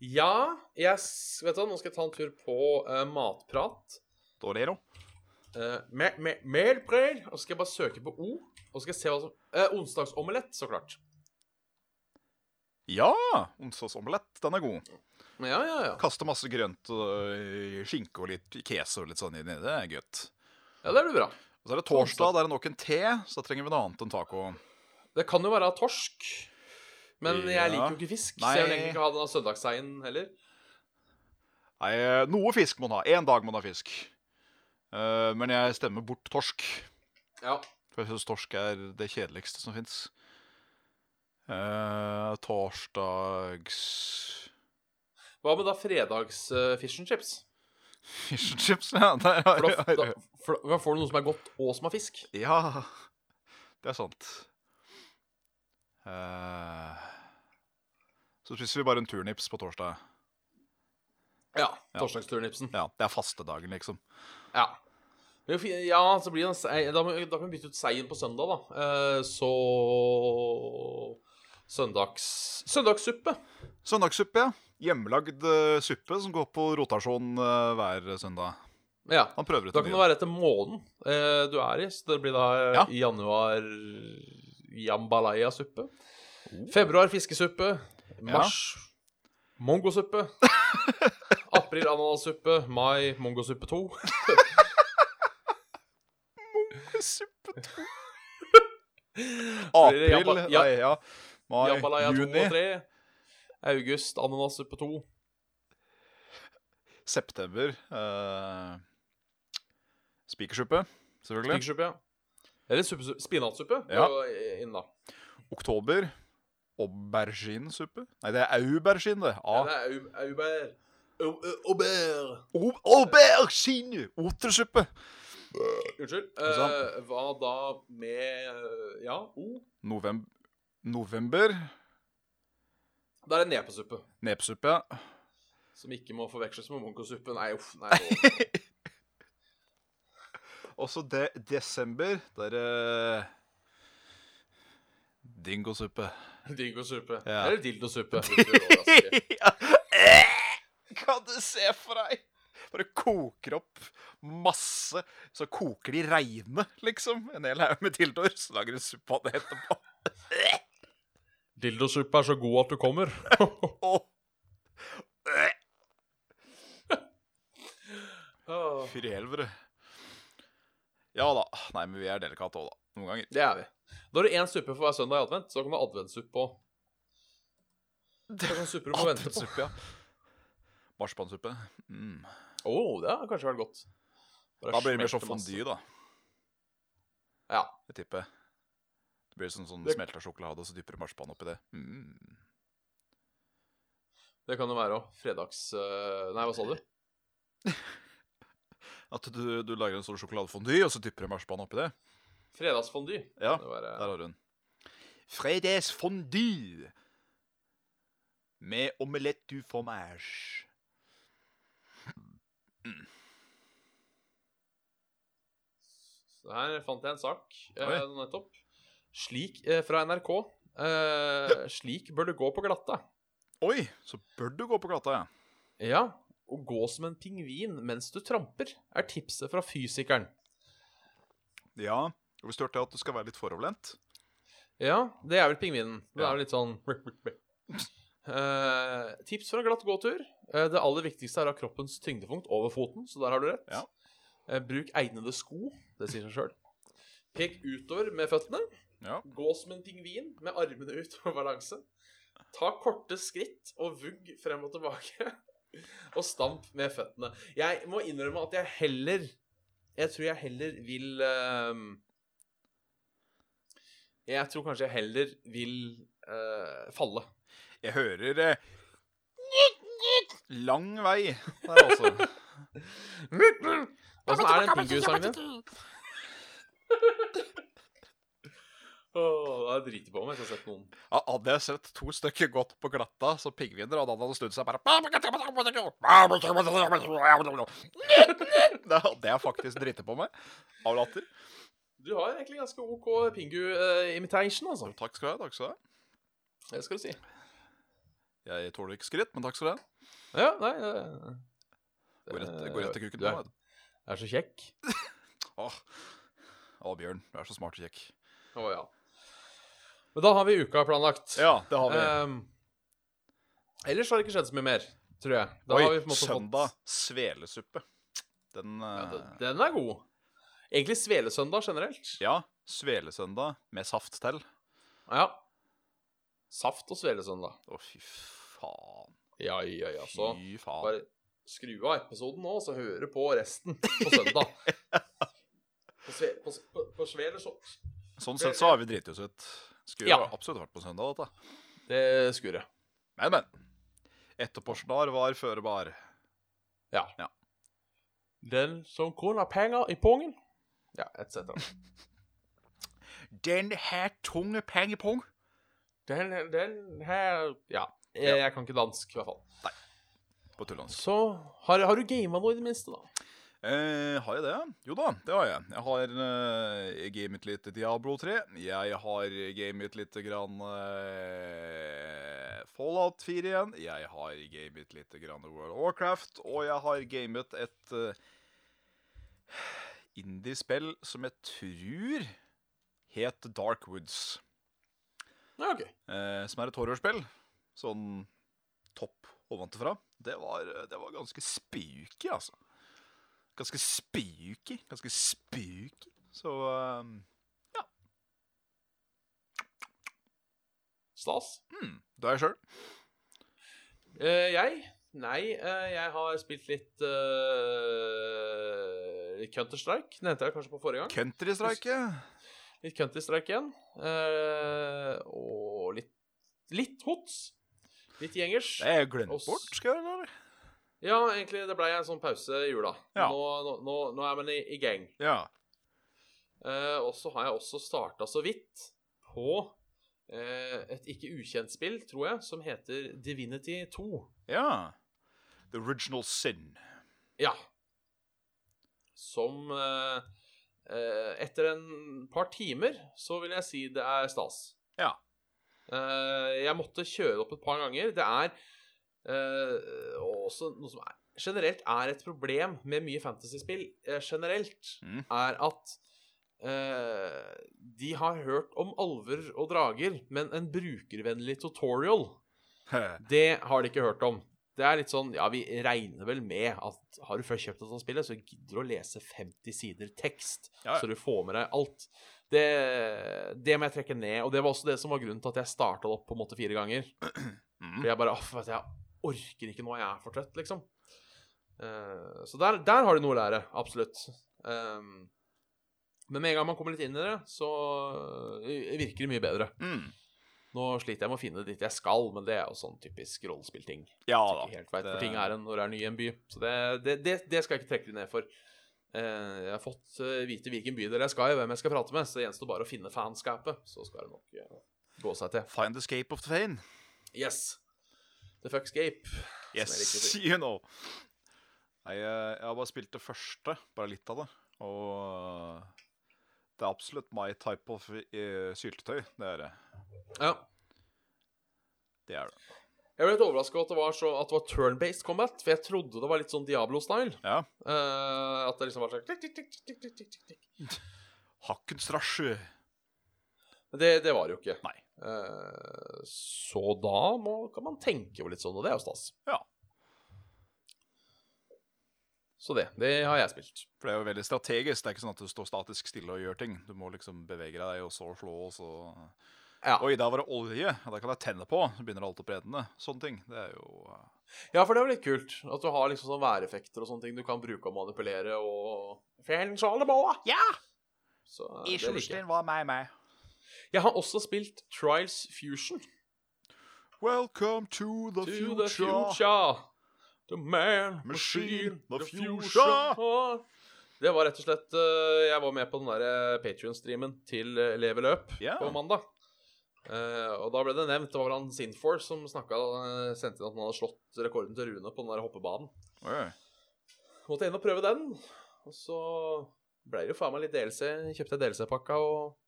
Speaker 1: Ja, jeg s- Vet du hva, nå skal jeg ta en tur på eh, matprat.
Speaker 2: Dolero.
Speaker 1: Uh, mer, mer, mer brød. Og så skal jeg bare søke på O. Og så skal jeg se hva som eh, Onsdagsomelett, så klart.
Speaker 2: Ja! Onsdagsomelett. Den er god.
Speaker 1: Ja, ja, ja.
Speaker 2: Kaste masse eh, grønt og øh, skinke og litt queso og litt sånn inni. Det er godt.
Speaker 1: Ja, Det blir bra.
Speaker 2: Og så er det torsdag, da er det nok en te, så da trenger vi noe annet enn taco.
Speaker 1: Det kan jo være torsk. Men
Speaker 2: Ja.
Speaker 1: jeg liker jo ikke fisk, så jeg vil
Speaker 2: Nei.
Speaker 1: egentlig ikke ha den av søndagsseien heller.
Speaker 2: Nei, eh, noe fisk må man ha. Én dag må man ha fisk. Eh, men jeg stemmer bort torsk.
Speaker 1: Ja.
Speaker 2: For jeg syns torsk er det kjedeligste som fins. torsdags
Speaker 1: Hva med da fredags eh, fish and chips?
Speaker 2: Fish and chips, ja. Der har
Speaker 1: For da,
Speaker 2: jeg-
Speaker 1: da, for da får du noe som er godt, og som er fisk.
Speaker 2: Ja, det er sant. Eh, så spiser vi bare en turnips på torsdag.
Speaker 1: Ja.
Speaker 2: Ja.
Speaker 1: Torsdagsturnipsen.
Speaker 2: Ja, Det er fastedagen, liksom.
Speaker 1: Ja. Men fi- Ja, så blir det en sei, da, må, da kan vi bytte ut seien på søndag, da. Eh, så Søndags Søndagssuppe.
Speaker 2: Søndagssuppe, ja. Hjemmelagd eh, suppe som går på rotasjon eh, hver søndag.
Speaker 1: Ja.
Speaker 2: Han prøver ut
Speaker 1: Da
Speaker 2: en
Speaker 1: kan
Speaker 2: ny.
Speaker 1: det være etter måneden eh, du er i. Så det blir da eh,
Speaker 2: Ja.
Speaker 1: januar jambalaya-suppe.
Speaker 2: Oh.
Speaker 1: Februar fiskesuppe. Mars mongosuppe. April ananassuppe. Mai mongosuppe 2.
Speaker 2: Suppe to.
Speaker 1: Blir det
Speaker 2: April,
Speaker 1: jamba- ja-
Speaker 2: nei, ja. Mai,
Speaker 1: Jambalaya 2
Speaker 2: juni,
Speaker 1: og 3. August ananassuppe 2.
Speaker 2: september. eh, Spikersuppe, selvfølgelig.
Speaker 1: Pigsuppe, ja. Eller suppesu- spinatsuppe.
Speaker 2: Ja.
Speaker 1: og, eh, Inn, da.
Speaker 2: Oktober. Auberginesuppe? Nei, det er aubergine, det. Ah, A
Speaker 1: Det er au- auber. Au- au- Auber.
Speaker 2: Au- Aubergine! Otersuppe.
Speaker 1: Unnskyld.
Speaker 2: Ikke sant?
Speaker 1: Eh, hva da med eh, Ja, o?
Speaker 2: November, november.
Speaker 1: Da er det nepesuppe.
Speaker 2: Nepsuppe.
Speaker 1: Som ikke må forveksles med monkosuppe. Nei, uff. Nei, nå-
Speaker 2: Og så de, desember. Det er eh, Dingosuppe.
Speaker 1: dingosuppe.
Speaker 2: Ja.
Speaker 1: Eller dildosuppe. hvis du vil overraske.
Speaker 2: kan du se for deg? Bare koker opp masse. Så koker de reine, liksom. En hel haug med dildoer. Så lager de suppe av det etterpå.
Speaker 1: Dildosuppe er så god at du kommer.
Speaker 2: Åh,
Speaker 1: Ah,
Speaker 2: Fy helvete. Ja da. Nei, men vi er delikate òg, da. Noen ganger.
Speaker 1: Det er vi. Da har du én suppe for hver søndag i advent. Så kan du ha adventssuppe òg. Sånn supper du må vente på.
Speaker 2: Appelsuppe, ja. Marsipansuppe. Mm.
Speaker 1: Å, det har kanskje vært godt. Bare
Speaker 2: Da blir det mer sånn
Speaker 1: smelte masse.
Speaker 2: fondy, da.
Speaker 1: Ja.
Speaker 2: Jeg tipper. Det blir sånn, sånn
Speaker 1: Det-
Speaker 2: smelta sjokolade og så dypper du marsipan oppi det. Mm.
Speaker 1: Det kan det være òg. Fredags... eh, Nei, hva sa du?
Speaker 2: At du, du lager en sånn sjokoladefondy, og så dypper du marsipan oppi det.
Speaker 1: Fredagsfondy.
Speaker 2: Ja,
Speaker 1: Kan det være.
Speaker 2: der har du den. Fredagsfondy med omelett du fromage.
Speaker 1: Så Her fant jeg en sak eh,
Speaker 2: Oi.
Speaker 1: nettopp. Slik eh, fra NRK. Eh, slik bør du gå på glatta.
Speaker 2: Oi, så bør du gå på glatta, ja.
Speaker 1: Ja, å gå som en pingvin mens du tramper, er tipset fra fysikeren.
Speaker 2: Ja, og hvis du hørte at du skal være litt foroverlent.
Speaker 1: Ja, det er vel pingvinen. Den
Speaker 2: Ja.
Speaker 1: er jo litt sånn Eh, tips for en glatt gåtur. Eh, det aller viktigste er å ha kroppens tyngdepunkt over foten, så der har du rett.
Speaker 2: Ja.
Speaker 1: Eh, bruk egnede sko. Det sier seg sjøl. Pek utover med føttene.
Speaker 2: Ja.
Speaker 1: Gå som en pingvin med armene ut og balanse. Ta korte skritt og vugg frem og tilbake. Og stamp med føttene. Jeg må innrømme at jeg heller Jeg tror jeg heller vil eh, Jeg tror kanskje jeg heller vil eh, falle.
Speaker 2: Jeg hører eh, lang vei der, altså.
Speaker 1: Åssen er den pingusangen din? Åh, jeg driter på om jeg ikke har sett noen.
Speaker 2: Ja, hadde jeg sett to stykker gått på glatta som pingviner, hadde han snudd seg bare Det hadde jeg faktisk driti på meg av latter.
Speaker 1: Du har egentlig ganske OK pingu-imitation, altså.
Speaker 2: Takk skal du ha. takk skal du ha.
Speaker 1: Det skal du si.
Speaker 2: Jeg tåler ikke skritt, men takk skal du ha.
Speaker 1: Ja, nei eh,
Speaker 2: Går rett, går rett til kuken. på
Speaker 1: Du er,
Speaker 2: meg, vet
Speaker 1: er så kjekk.
Speaker 2: du. Åh. Å, Bjørn, du er så smart og kjekk.
Speaker 1: Å ja. Men da har vi uka planlagt.
Speaker 2: Ja, det har vi.
Speaker 1: Ehm, ellers har det ikke skjedd så mye mer, tror jeg. Da
Speaker 2: Oi,
Speaker 1: har vi på en måte fått-
Speaker 2: søndag svelesuppe. Den
Speaker 1: Ja,
Speaker 2: eh,
Speaker 1: den- den er god. Egentlig Svelesøndag generelt.
Speaker 2: Ja, svelesøndag med saft til.
Speaker 1: Ja. Saft og Svelesøndag.
Speaker 2: Å, fy faen.
Speaker 1: Ja, ja, ja. Så
Speaker 2: Fy faen.
Speaker 1: bare skru av episoden nå, og så høre på resten på søndag. På, sve, på, på, på Svelesøndag.
Speaker 2: Sånn sett så har vi driti oss ut. Skulle
Speaker 1: Ja.
Speaker 2: jo absolutt vært på søndag, dette.
Speaker 1: Det skurrer.
Speaker 2: Men, men. Etterpårsdag var føre bar.
Speaker 1: Ja.
Speaker 2: Ja.
Speaker 1: Den som kun har penger i pungen Ja, etc.
Speaker 2: Den her tunge pengepung.
Speaker 1: Den, den her Ja. Jeg, jeg kan ikke dansk, i hvert fall.
Speaker 2: På tullansk.
Speaker 1: Så har, har du gama noe i det minste, da?
Speaker 2: Eh, har jeg det? Jo da, det har jeg. Jeg har eh, gamet litt Diablo 3. Jeg har gamet litt grann eh, Fallout 4 igjen. Jeg har gamet litt grann World of Warcraft. Og jeg har gamet et eh, indie-spill som jeg tror het Dark Woods.
Speaker 1: Ja, OK.
Speaker 2: eh, som er et horrorspill. Sånn topp ovenfra. Det var, det var ganske spooky, altså. Ganske spooky. Ganske spooky. Så eh,
Speaker 1: Stas.
Speaker 2: hmm, Da er jeg sjøl.
Speaker 1: Eh, jeg? Nei, eh, jeg har spilt litt eh, Counter-Strike. Nevnte jeg kanskje på forrige gang.
Speaker 2: Countrystrike.
Speaker 1: Litt Counter-Strike igjen. eh, og litt litt hots. Litt gjengers.
Speaker 2: Det er glemt
Speaker 1: Oss.
Speaker 2: bort, skal jeg gjøre, eller?
Speaker 1: Ja, egentlig det blei en sånn pause i jula.
Speaker 2: Ja.
Speaker 1: Nå, nå, nå, nå er man i, i gang.
Speaker 2: Ja.
Speaker 1: Eh, og så har jeg også starta så vidt på eh, et ikke ukjent spill, tror jeg, som heter Divinity 2.
Speaker 2: ja. The Original Sin.
Speaker 1: Ja. Som eh, eh, Etter en par timer så vil jeg si det er stas.
Speaker 2: Ja.
Speaker 1: Eh, jeg måtte kjøre opp et par ganger. Det er eh, også noe som er, generelt er et problem med mye fantasyspill eh, generelt,
Speaker 2: Mm.
Speaker 1: er at eh, de har hørt om alver og drager, men en brukervennlig tutorial, det har de ikke hørt om. Det er litt sånn Ja, vi regner vel med at har du først kjøpt dette spillet, så gidder du å lese 50 sider tekst,
Speaker 2: Ja, ja.
Speaker 1: så du får med deg alt. Det, det må jeg trekke ned, og det var også det som var grunnen til at jeg starta det opp på en måte fire ganger.
Speaker 2: Mm.
Speaker 1: For jeg bare Aff, vet du, jeg orker ikke nå, jeg er for trøtt, liksom. Eh, så der, der har de noe å lære, absolutt. Ehm, men med en gang man kommer litt inn i det, så eh, virker det mye bedre.
Speaker 2: Mm.
Speaker 1: Nå sliter jeg med å finne dit jeg skal, men det er jo sånn typisk rollespillting.
Speaker 2: Ja
Speaker 1: Ikke
Speaker 2: da. Eh,
Speaker 1: helt vet hvor
Speaker 2: det-
Speaker 1: ting er en når det er ny i en by. Så det, det, det, det skal jeg ikke trekke de ned for. Eh, jeg har fått eh, vite hvilken bydel jeg skal i, hvem jeg skal prate med, så det gjenstår bare å finne fanskapet. Så skal det nok eh, gå seg til.
Speaker 2: Find the scape of the fane.
Speaker 1: Yes. The fuckscape.
Speaker 2: Yes, you know. Nei, eh, jeg har bare spilt det første, bare litt av det. Og eh, det er absolutt my type of eh, syltetøy. Det er det.
Speaker 1: Ja.
Speaker 2: Det er det.
Speaker 1: Jeg ble litt overraska over at det var, så- at det var turn-based combat, for jeg trodde det var litt sånn Diablo-style.
Speaker 2: Ja.
Speaker 1: Eh, at det liksom var sånn tikk, tikk, tikk, tikk, tikk, tikk, tikk, tikk.
Speaker 2: Hakkens rasje.
Speaker 1: det, det var det jo ikke.
Speaker 2: Nei.
Speaker 1: Eh, så da må, kan man tenke jo litt sånn, og det er jo stas.
Speaker 2: Ja.
Speaker 1: Så det. Det har jeg spilt.
Speaker 2: For det er jo veldig strategisk. Det er ikke sånn at du står statisk stille og gjør ting. Du må liksom bevege deg, og så slå, og så
Speaker 1: Ja.
Speaker 2: Oi, der var det olje. Ja, det kan jeg tenne på. Så begynner alt å brenne. Sånne ting. Det er jo eh,
Speaker 1: ja, for det er jo litt kult at du har liksom sånn væreffekter og sånne ting du kan bruke og manipulere og Fjell, Charleboa!
Speaker 2: Ja!
Speaker 1: Så eh, det liker jeg.
Speaker 2: var meg, meg.
Speaker 1: Jeg har også spilt Trials Fusion.
Speaker 2: Welcome to the
Speaker 1: To
Speaker 2: future.
Speaker 1: the future. The man,
Speaker 2: Machine,
Speaker 1: machine,
Speaker 2: the
Speaker 1: the
Speaker 2: future.
Speaker 1: future. Det var rett og slett eh, Jeg var med på den der Patrion-streamen til eh, Leve løp
Speaker 2: Ja.
Speaker 1: på mandag. Eh, og da ble det nevnt. Det var vel han Sinfor som snakka, eh, sendte inn at han hadde slått rekorden til Rune på den der hoppebanen.
Speaker 2: Oi.
Speaker 1: Måtte inn og prøve den. Og så ble det jo faen meg litt DLC. Kjøpte jeg DLC-pakka, og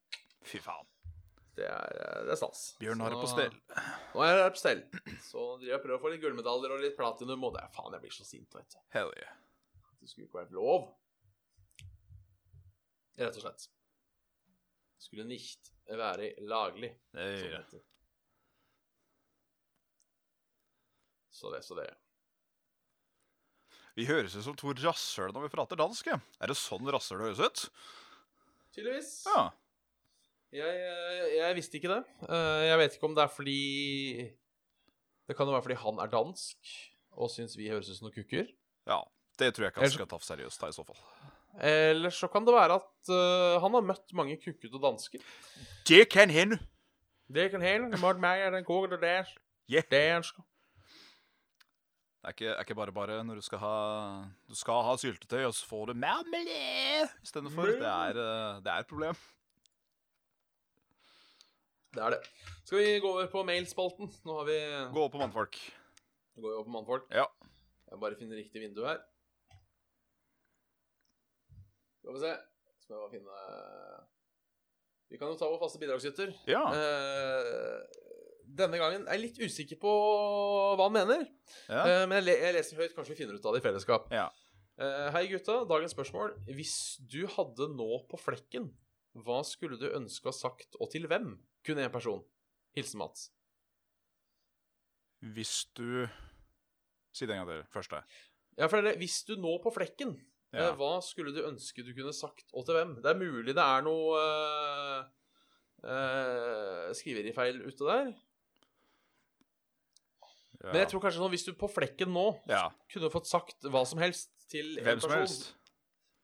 Speaker 2: Fy faen.
Speaker 1: det er, eh, det er stas.
Speaker 2: Bjørn har
Speaker 1: Så
Speaker 2: det på
Speaker 1: nå-
Speaker 2: stell.
Speaker 1: Nå er jeg på stell. Så driver jeg og prøver å få litt gullmedaljer og litt platinum, og det er faen, jeg blir så sint, vet du.
Speaker 2: Hell yeah.
Speaker 1: Det skulle ikke vært lov. Rett og slett. Skulle nicht være laglig.
Speaker 2: Det
Speaker 1: som
Speaker 2: gjør
Speaker 1: det
Speaker 2: jeg.
Speaker 1: heter. Så det, så det.
Speaker 2: Vi høres ut som to rasshøl når vi prater dansk. ja. Er det sånn rasshøl høres ut?
Speaker 1: Tydeligvis.
Speaker 2: Ja.
Speaker 1: Jeg, eh, jeg visste ikke det. Eh, Jeg vet ikke om det er fordi Det kan jo være fordi han er dansk og syns vi høres ut som noen kukker.
Speaker 2: ja. Det tror jeg ikke
Speaker 1: Jeg-
Speaker 2: han skal ta seriøst da, i så fall.
Speaker 1: Eller så kan det være at eh, han har møtt mange kukkete dansker.
Speaker 2: Det kan hende.
Speaker 1: Det kan hende. Møtt meg er den kukkete dansk.
Speaker 2: Ja.
Speaker 1: Dansk.
Speaker 2: Det er ikke, er ikke bare bare når du skal ha Du skal ha syltetøy, og så får du marmelade istedenfor. Det, er, eh, det er et problem.
Speaker 1: Det er det. Skal vi gå over på mailspalten? Nå har vi
Speaker 2: Gå opp på mannfolk.
Speaker 1: Går jo over på mannfolk.
Speaker 2: Ja.
Speaker 1: Jeg bare finner riktig vindu her. Skal vi se. Skal jeg bare finne Vi kan jo ta vår faste bidragsyter.
Speaker 2: Ja.
Speaker 1: Eh, denne gangen er jeg litt usikker på hva han mener.
Speaker 2: ja.
Speaker 1: Eh, men jeg, le jeg leser høyt, kanskje vi finner ut av det i fellesskap.
Speaker 2: Ja.
Speaker 1: Eh, hei, gutta. Dagens spørsmål. Hvis du hadde nå på flekken, hva skulle du ønske å ha sagt, og til hvem? Kun én person. Hilsen Mats.
Speaker 2: Hvis du Si det en gang til. Første.
Speaker 1: Ja, for det er det. Hvis du nå på flekken,
Speaker 2: Ja.
Speaker 1: eh, hva skulle du ønske du kunne sagt, og til hvem? Det er mulig det er noe eh, eh, skriverifeil ute der. Men jeg tror kanskje sånn, hvis du på flekken nå
Speaker 2: ja.
Speaker 1: kunne fått sagt hva som helst til en
Speaker 2: Hvem som
Speaker 1: person.
Speaker 2: helst.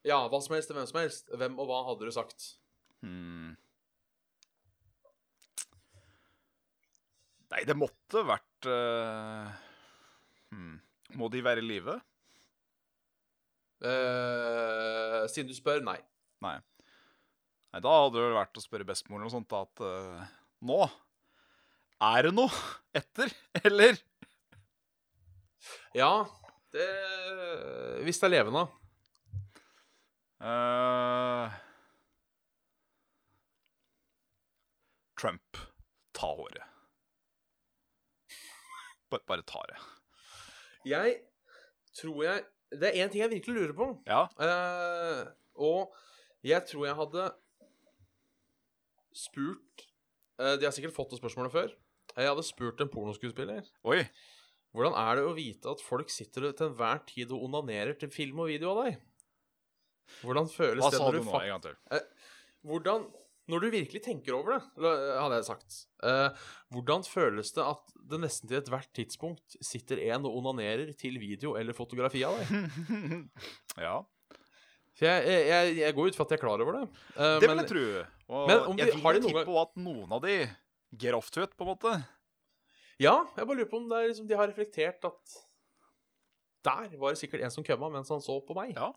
Speaker 1: Ja, hva som helst til hvem som helst. Hvem og hva hadde du sagt?
Speaker 2: Hmm. Nei, det måtte vært eh, hmm. Må de være i live?
Speaker 1: Eh, siden du spør, nei.
Speaker 2: Nei, da hadde det vel vært å spørre bestemoren og sånt da, at eh, nå er det noe etter, eller?
Speaker 1: Ja, det Hvis det er levende.
Speaker 2: Eh, Trump, ta håret. Bare, bare ta det.
Speaker 1: Jeg tror jeg Det er én ting jeg virkelig lurer på.
Speaker 2: Ja,
Speaker 1: Eh, og jeg tror jeg hadde spurt eh, De har sikkert fått det spørsmålet før. Jeg hadde spurt en pornoskuespiller
Speaker 2: oi.
Speaker 1: hvordan er det å vite at folk sitter til enhver tid og onanerer til film og video av deg. Hvordan føles
Speaker 2: Hva
Speaker 1: det
Speaker 2: sa
Speaker 1: når
Speaker 2: du
Speaker 1: du
Speaker 2: nå?
Speaker 1: fak-
Speaker 2: En gang til.
Speaker 1: Hvordan Når du virkelig tenker over det, la- hadde jeg sagt eh, Hvordan føles det at det nesten til ethvert tidspunkt sitter en og onanerer til video eller fotografi av deg?
Speaker 2: ja,
Speaker 1: For jeg, jeg, jeg, jeg går ut fra at jeg er klar over det. Eh,
Speaker 2: det vil
Speaker 1: men-
Speaker 2: jeg tro. Og
Speaker 1: men om de-
Speaker 2: jeg vil
Speaker 1: har de noen
Speaker 2: tippe
Speaker 1: gang-
Speaker 2: på at noen av de get off to it, på en måte.
Speaker 1: Ja, jeg bare lurer på om det er liksom, de har reflektert at Der var det sikkert en som kømma mens han så på meg.
Speaker 2: Ja.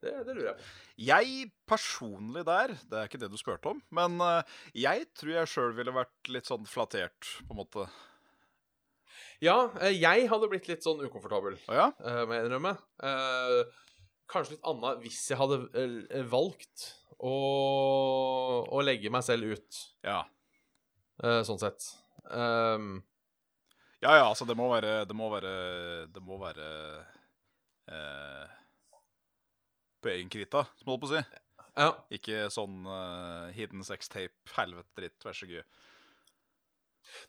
Speaker 1: Det, det lurer jeg på.
Speaker 2: Jeg personlig der, det er ikke det du spurte om, men eh, jeg tror jeg sjøl ville vært litt sånn flattert, på en måte.
Speaker 1: Ja, eh, jeg hadde blitt litt sånn ukomfortabel,
Speaker 2: Å ja?
Speaker 1: eh, må jeg innrømme. Eh, Kanskje litt annet hvis jeg hadde eh, valgt å, å legge meg selv ut,
Speaker 2: Ja.
Speaker 1: eh, sånn sett. Ehm,
Speaker 2: Ja, ja, altså det må være Det må være, det må være eh, På egen krita, som jeg holdt på å si.
Speaker 1: ja.
Speaker 2: Ikke sånn eh, hidden sex tape, helvete dritt, vær så god.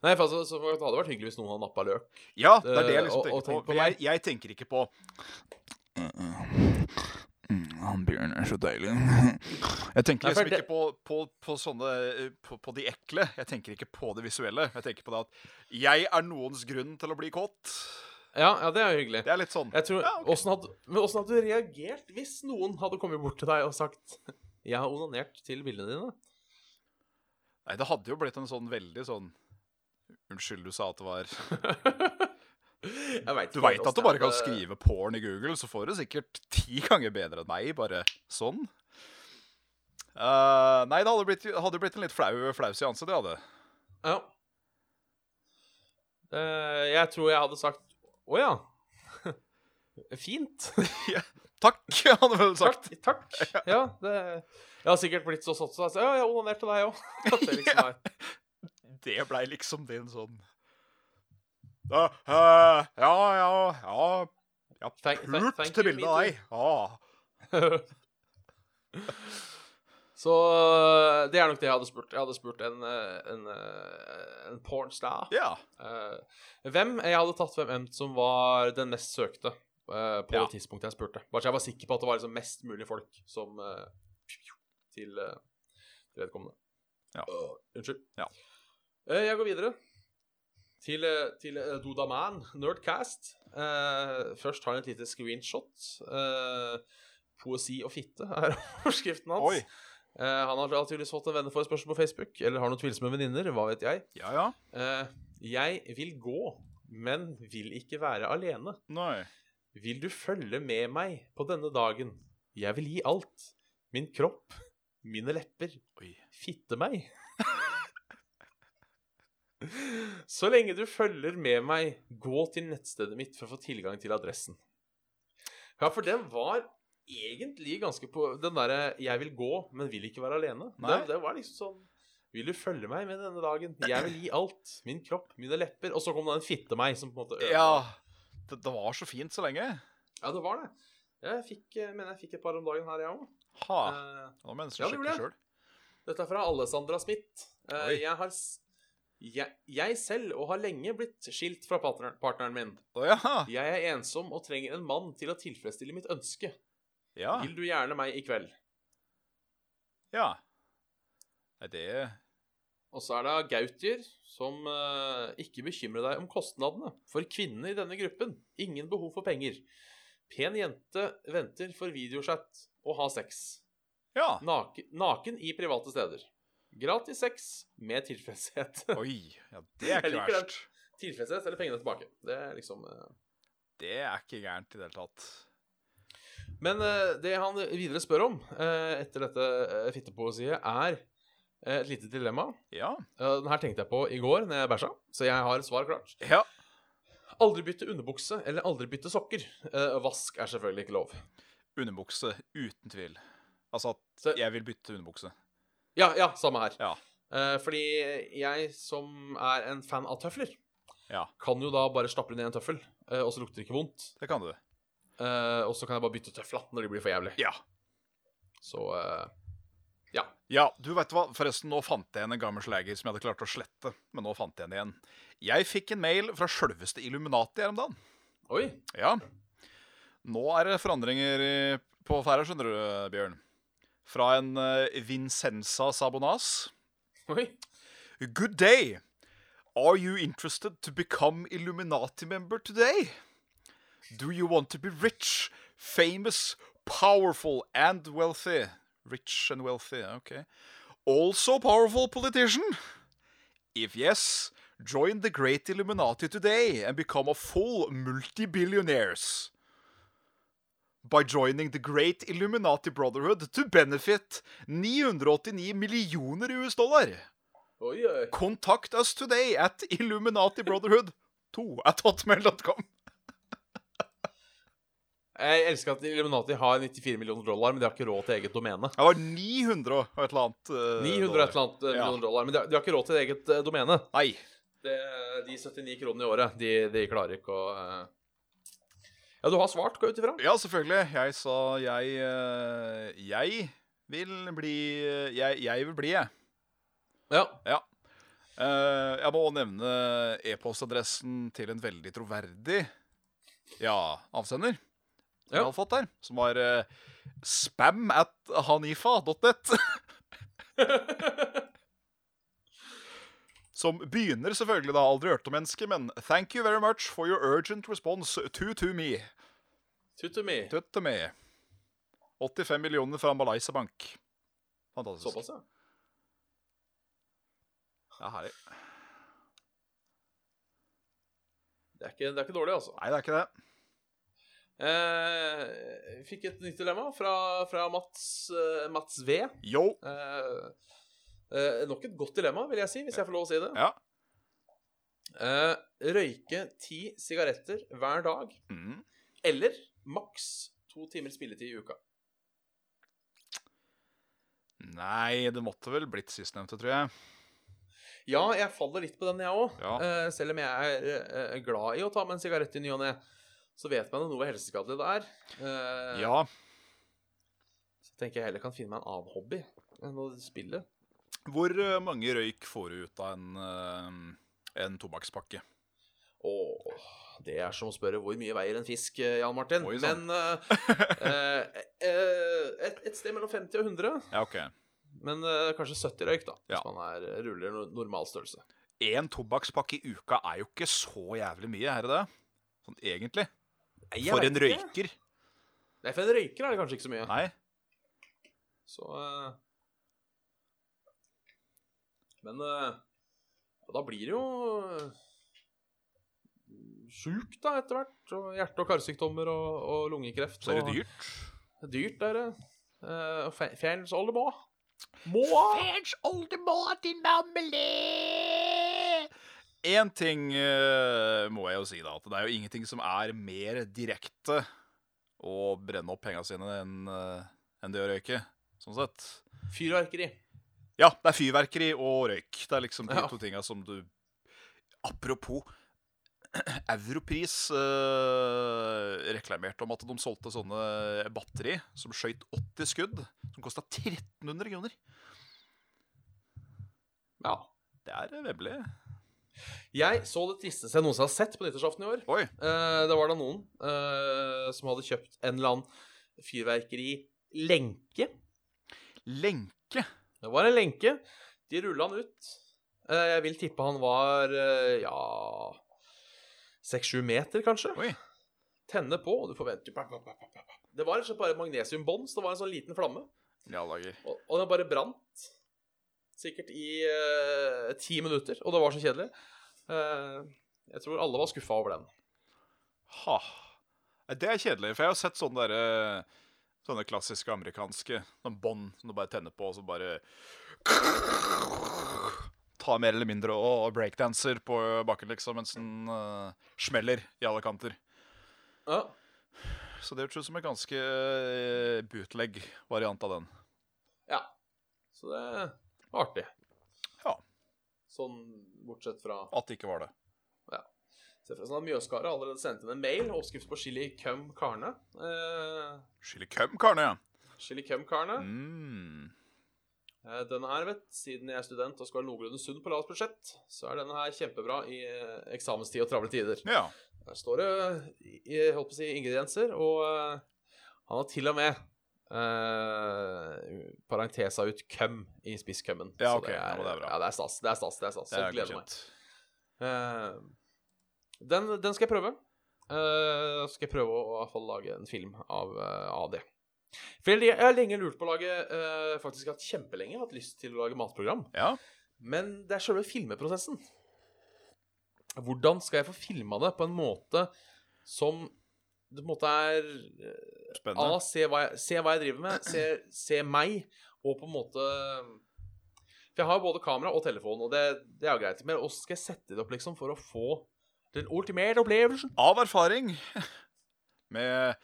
Speaker 1: Nei, for altså, så det hadde vært hyggelig hvis noen hadde nappa løk.
Speaker 2: Ja, det er det jeg
Speaker 1: Eh,
Speaker 2: liksom
Speaker 1: og- og
Speaker 2: tenker
Speaker 1: tenk
Speaker 2: på.
Speaker 1: på
Speaker 2: Jeg,
Speaker 1: meg.
Speaker 2: jeg tenker ikke på Mm, Han Bjørn er så deilig. Jeg tenker
Speaker 1: Nei, for
Speaker 2: liksom
Speaker 1: det-
Speaker 2: ikke på, på, på sånne eh, på, på de ekle. Jeg tenker ikke på det visuelle. Jeg tenker på det at jeg er noens grunn til å bli kåt.
Speaker 1: Ja, ja, det er jo hyggelig.
Speaker 2: Det er litt sånn
Speaker 1: Jeg tror,
Speaker 2: Ja, ok.
Speaker 1: hvordan hadde, men åssen hadde du reagert hvis noen hadde kommet bort til deg og sagt 'Jeg har onanert til bildene dine'?
Speaker 2: Nei, det hadde jo blitt en sånn veldig sånn Unnskyld, du sa at det var
Speaker 1: Jeg vet
Speaker 2: Du
Speaker 1: ikke
Speaker 2: veit
Speaker 1: helt
Speaker 2: at du
Speaker 1: hvordan
Speaker 2: bare kan
Speaker 1: jeg hadde-
Speaker 2: skrive porn i Google, så får du sikkert ti ganger bedre enn meg, bare sånn. Eh, nei, det hadde blitt, hadde blitt en litt flau, flau seanse, det hadde.
Speaker 1: Ja. Eh, jeg tror jeg hadde sagt 'Å ja'. Fint.
Speaker 2: Takk, hadde vel sagt.
Speaker 1: Takk. Takk. Ja, det, jeg har sikkert blitt så satt sånn at Ja, jeg onanerte til deg òg. At det liksom er
Speaker 2: Det blei liksom din sånn Ja, eh, ja, ja, ja. Jeg har
Speaker 1: Thank- thank-
Speaker 2: pult
Speaker 1: thank
Speaker 2: til
Speaker 1: you,
Speaker 2: bildet av
Speaker 1: me
Speaker 2: deg. Ja.
Speaker 1: Så eh, det er nok det jeg hadde spurt. Jeg hadde spurt en, eh, en, eh, en pornstar.
Speaker 2: ja.
Speaker 1: Eh, hvem Jeg hadde tatt hvem enn som var den mest søkte. eh, på
Speaker 2: Ja.
Speaker 1: det tidspunktet jeg spurte. Bare så jeg var sikker på at det var liksom mest mulig folk som eh, til, eh, til vedkommende.
Speaker 2: Ja.
Speaker 1: Øh, unnskyld.
Speaker 2: Ja.
Speaker 1: Eh, jeg går videre til, eh, til eh, Dodaman, Nerdcast. Eh, først har han et lite screenshot. Eh, poesi og fitte er overskriften hans.
Speaker 2: Oi.
Speaker 1: Eh, han har naturligvis fått en venneforespørsel på Facebook, eller har noen tvilsomme venninner, hva vet jeg.
Speaker 2: Ja, ja.
Speaker 1: Eh, jeg vil gå, men vil ikke være alene.
Speaker 2: Nei.
Speaker 1: Vil du følge med meg på denne dagen? Jeg vil gi alt. Min kropp, mine lepper,
Speaker 2: Oi.
Speaker 1: fitte meg. Så lenge du følger med meg, gå til nettstedet mitt for å få tilgang til adressen. Ja, for den var egentlig ganske på Den derre 'jeg vil gå, men vil ikke være alene'.
Speaker 2: Nei.
Speaker 1: Det, det var liksom sånn Vil du følge meg med denne dagen? Jeg vil gi alt. Min kropp, mine lepper. Og så kom det en 'fitte meg' som på en måte ødela.
Speaker 2: Ja. Det, det var så fint så lenge.
Speaker 1: ja, det var det. Jeg fikk, eh, mener jeg fikk et par om dagen her, jeg òg.
Speaker 2: Ha.
Speaker 1: Eh,
Speaker 2: Nå må jeg nesten
Speaker 1: ja, det
Speaker 2: sjekke
Speaker 1: gjorde jeg.
Speaker 2: sjøl.
Speaker 1: Dette er fra Alessandra Smith. Eh,
Speaker 2: Oi.
Speaker 1: jeg, har, s- jeg, jeg selv og har lenge blitt skilt fra partner, partneren min.
Speaker 2: Å ja.
Speaker 1: Jeg er ensom og trenger en mann til å tilfredsstille mitt ønske.
Speaker 2: Ja.
Speaker 1: Vil du gjerne meg i kveld?
Speaker 2: ja. Nei, det
Speaker 1: Og så er det Gautier som eh, ikke bekymrer deg om kostnadene. For kvinnene i denne gruppen, ingen behov for penger. Pen jente venter for videochat og ha sex.
Speaker 2: Ja.
Speaker 1: Naken, naken i private steder. Gratis sex med tilfredshet.
Speaker 2: Oi. Ja, det er
Speaker 1: Jeg
Speaker 2: ikke
Speaker 1: liker den.
Speaker 2: verst.
Speaker 1: tilfredshet eller pengene tilbake. Det er liksom eh,
Speaker 2: Det er ikke gærent i det hele tatt.
Speaker 1: Men eh, det han videre spør om eh, etter dette eh, fittepoesiet, er eh, et lite dilemma.
Speaker 2: Ja.
Speaker 1: Eh, den her tenkte jeg på i går når jeg bæsja, så jeg har et svar klart.
Speaker 2: Ja.
Speaker 1: Aldri bytte underbukse eller aldri bytte sokker. Eh, vask er selvfølgelig ikke lov.
Speaker 2: Underbukse, uten tvil. Altså
Speaker 1: Så-
Speaker 2: at jeg vil bytte underbukse.
Speaker 1: Ja, ja, samme her.
Speaker 2: Ja.
Speaker 1: Eh, fordi jeg som er en fan av tøfler,
Speaker 2: Ja.
Speaker 1: kan jo da bare stappe ned en tøffel, eh, og så lukter det ikke vondt.
Speaker 2: Det kan du.
Speaker 1: Eh, og så kan jeg bare bytte tøfla når de blir for jævlig.
Speaker 2: Ja.
Speaker 1: Så eh,
Speaker 2: Ja, du vet hva, forresten, nå fant jeg igjen en gammel slager som jeg hadde klart å slette. Men nå fant jeg den igjen. Jeg fikk en mail fra sjølveste Illuminati her om dagen.
Speaker 1: Oi.
Speaker 2: Ja. Nå er det forandringer i- på ferde, skjønner du, Bjørn. Fra en eh, Vincenza Sabonas.
Speaker 1: Oi.
Speaker 2: Good day! Are you interested to become Illuminati member today? Do you want to be rich, famous, powerful and wealthy? Rich and wealthy, okay. Also powerful politician? If yes, join the great Illuminati today and become a full multi-billionaires. By joining the great Illuminati Brotherhood to benefit 989 millioner US dollar.
Speaker 1: Oi, oi.
Speaker 2: Contact us today at Illuminati Brotherhood 2 at hotmail.com.
Speaker 1: Jeg elsker at Illuminati har 94 millioner dollar, men de har ikke råd til eget domene.
Speaker 2: Det var 900 og et eller annet. eh,
Speaker 1: 900 og
Speaker 2: dollar.
Speaker 1: et eller annet eh,
Speaker 2: Eh, Ja.
Speaker 1: millioner dollar, men de har, de har ikke råd til eget eh, domene.
Speaker 2: Nei.
Speaker 1: Det, de 79 kronene i året, de, de klarer ikke å eh, Ja, du har svart, går jeg ut ifra?
Speaker 2: Ja, selvfølgelig. Jeg sa jeg eh, Jeg vil bli Jeg, jeg vil bli, jeg.
Speaker 1: Ja.
Speaker 2: Ja. Eh, jeg må nevne e-postadressen til en veldig troverdig ja, avsender. som
Speaker 1: Ja.
Speaker 2: Jeg har fått der, som var eh, spam at hanifa.net. Som begynner selvfølgelig da aldri hørt om mennesket, men thank you very much for your urgent response to to me.
Speaker 1: Tut to me.
Speaker 2: To to me. 85 millioner fra Malaysia Bank. Fantastisk.
Speaker 1: Såpass, ja.
Speaker 2: Det er herlig.
Speaker 1: Det er ikke, det er ikke dårlig, altså.
Speaker 2: Nei, det er ikke det.
Speaker 1: Eh, jeg fikk et nytt dilemma fra, fra Mats, eh, Mats V.
Speaker 2: Yo.
Speaker 1: Eh, eh, nok et godt dilemma, vil jeg si, hvis jeg får lov å si det.
Speaker 2: Ja.
Speaker 1: Eh, røyke ti sigaretter hver dag,
Speaker 2: Mm.
Speaker 1: eller maks to timer spilletid i uka.
Speaker 2: Nei, det måtte vel blitt sistnevnte, tror jeg.
Speaker 1: Ja, jeg faller litt på den, jeg òg.
Speaker 2: Ja.
Speaker 1: Eh, selv om jeg er eh, glad i å ta med en sigarett i ny og ne, så vet man jo noe hvor helseskadelig det er. Eh,
Speaker 2: Ja.
Speaker 1: Så tenker jeg heller kan finne meg en annen hobby enn å spille.
Speaker 2: Hvor eh, mange røyk får du ut av en, eh, en tobakkspakke?
Speaker 1: Åh, Det er som å spørre hvor mye veier en fisk, eh, Jan Martin.
Speaker 2: Oi, sann.
Speaker 1: Men eh, eh, eh, et, et sted mellom 50 og 100,
Speaker 2: Ja, ok.
Speaker 1: men eh, kanskje 70 røyk, da.
Speaker 2: Ja.
Speaker 1: Hvis man er ruller no- normal størrelse.
Speaker 2: Én tobakkspakke i uka er jo ikke så jævlig mye, er det det? Sånn egentlig. For en røyker.
Speaker 1: Nei, for en røyker er det kanskje ikke så mye.
Speaker 2: Nei.
Speaker 1: Så eh, Men eh, ja, da blir det jo eh, sjukt, da, etter hvert. Og hjerte- og karsykdommer og, og lungekreft.
Speaker 2: Så er det
Speaker 1: og-
Speaker 2: dyrt.
Speaker 1: Dyrt er det. Eh, og fe- Fjerns oldemå. Må!
Speaker 2: Fans oldemor til mamle! Én ting eh, må jeg jo si, da. At det er jo ingenting som er mer direkte å brenne opp penga sine enn eh, enn det å røyke. Sånn sett.
Speaker 1: Fyrverkeri.
Speaker 2: Ja, det er fyrverkeri og røyk. Det er liksom de
Speaker 1: Ja.
Speaker 2: to tinga som du Apropos Europris eh, reklamerte om at de solgte sånne batteri som skøyt 80 skudd, som kosta 1300 kroner.
Speaker 1: Ja.
Speaker 2: Det er eh, vemmelig.
Speaker 1: Jeg så det tristeste jeg noensinne har sett på nyttårsaften i år.
Speaker 2: Oi.
Speaker 1: Eh, det var da noen eh, som hadde kjøpt en eller annen fyrverkerilenke.
Speaker 2: Lenke.
Speaker 1: Det var en lenke. De rulla han ut. Eh, Jeg vil tippe han var eh, ja seks-sju meter, kanskje.
Speaker 2: Oi.
Speaker 1: Tenne på, og du forventer pap, pap, pap, pap, pap. Det var rett og slett bare magnesiumbånd, så det var en sånn liten flamme.
Speaker 2: Ja, lager.
Speaker 1: Og, og den bare brant. Sikkert i eh, ti minutter, og det var så kjedelig. Eh, jeg tror alle var skuffa over den.
Speaker 2: Ha. Nei, Det er kjedelig, for jeg har sett sånne derre Sånne klassiske amerikanske sånn bånd som du bare tenner på, og så bare Ta mer eller mindre og og breakdanser på bakken, liksom, mens den eh, smeller i alle kanter.
Speaker 1: Ja.
Speaker 2: Så det hørtes ut som en ganske eh, bootleg-variant av den.
Speaker 1: ja. Så det var artig.
Speaker 2: Ja.
Speaker 1: Sånn bortsett fra
Speaker 2: At det ikke var det.
Speaker 1: Se for deg sånn at Mjøskaret har allerede sendt inn en mail. Oppskrift på chili cum carne. Eh,
Speaker 2: Chili cum carne, ja.
Speaker 1: chili cum carne.
Speaker 2: Mm.
Speaker 1: Eh, denne her, vet siden jeg er student og skal være noenlunde sunn på lavt budsjett, så er denne her kjempebra i eh, eksamenstid og travle tider.
Speaker 2: Ja.
Speaker 1: Der står det eh, i, jeg holdt på å si, ingredienser, og eh, han har til og med eh, parentesa ut cum i spisscummen.
Speaker 2: Ja,
Speaker 1: Så
Speaker 2: ok. Ja, men det er bra.
Speaker 1: Ja, det er stas. Det er stas. Det er stas.
Speaker 2: Det
Speaker 1: Så
Speaker 2: er
Speaker 1: gleder meg.
Speaker 2: godkjent.
Speaker 1: Eh, den, den skal jeg prøve. Eh, skal jeg prøve å, å i hvert fall lage en film av, eh, av det. For jeg, jeg har lenge lurt på å lage eh, Faktisk hatt kjempelenge hatt lyst til å lage matprogram.
Speaker 2: Ja.
Speaker 1: Men det er selve filmeprosessen. Hvordan skal jeg få filma det på en måte som det på en måte er eh, A,
Speaker 2: Spennende.
Speaker 1: se hva jeg, se hva jeg driver med, se, se meg, og på en måte For jeg har jo både kamera og telefon, og det, det er jo greit. Men hvordan skal jeg sette det opp liksom for å få den ultimate opplevelsen?
Speaker 2: Av erfaring med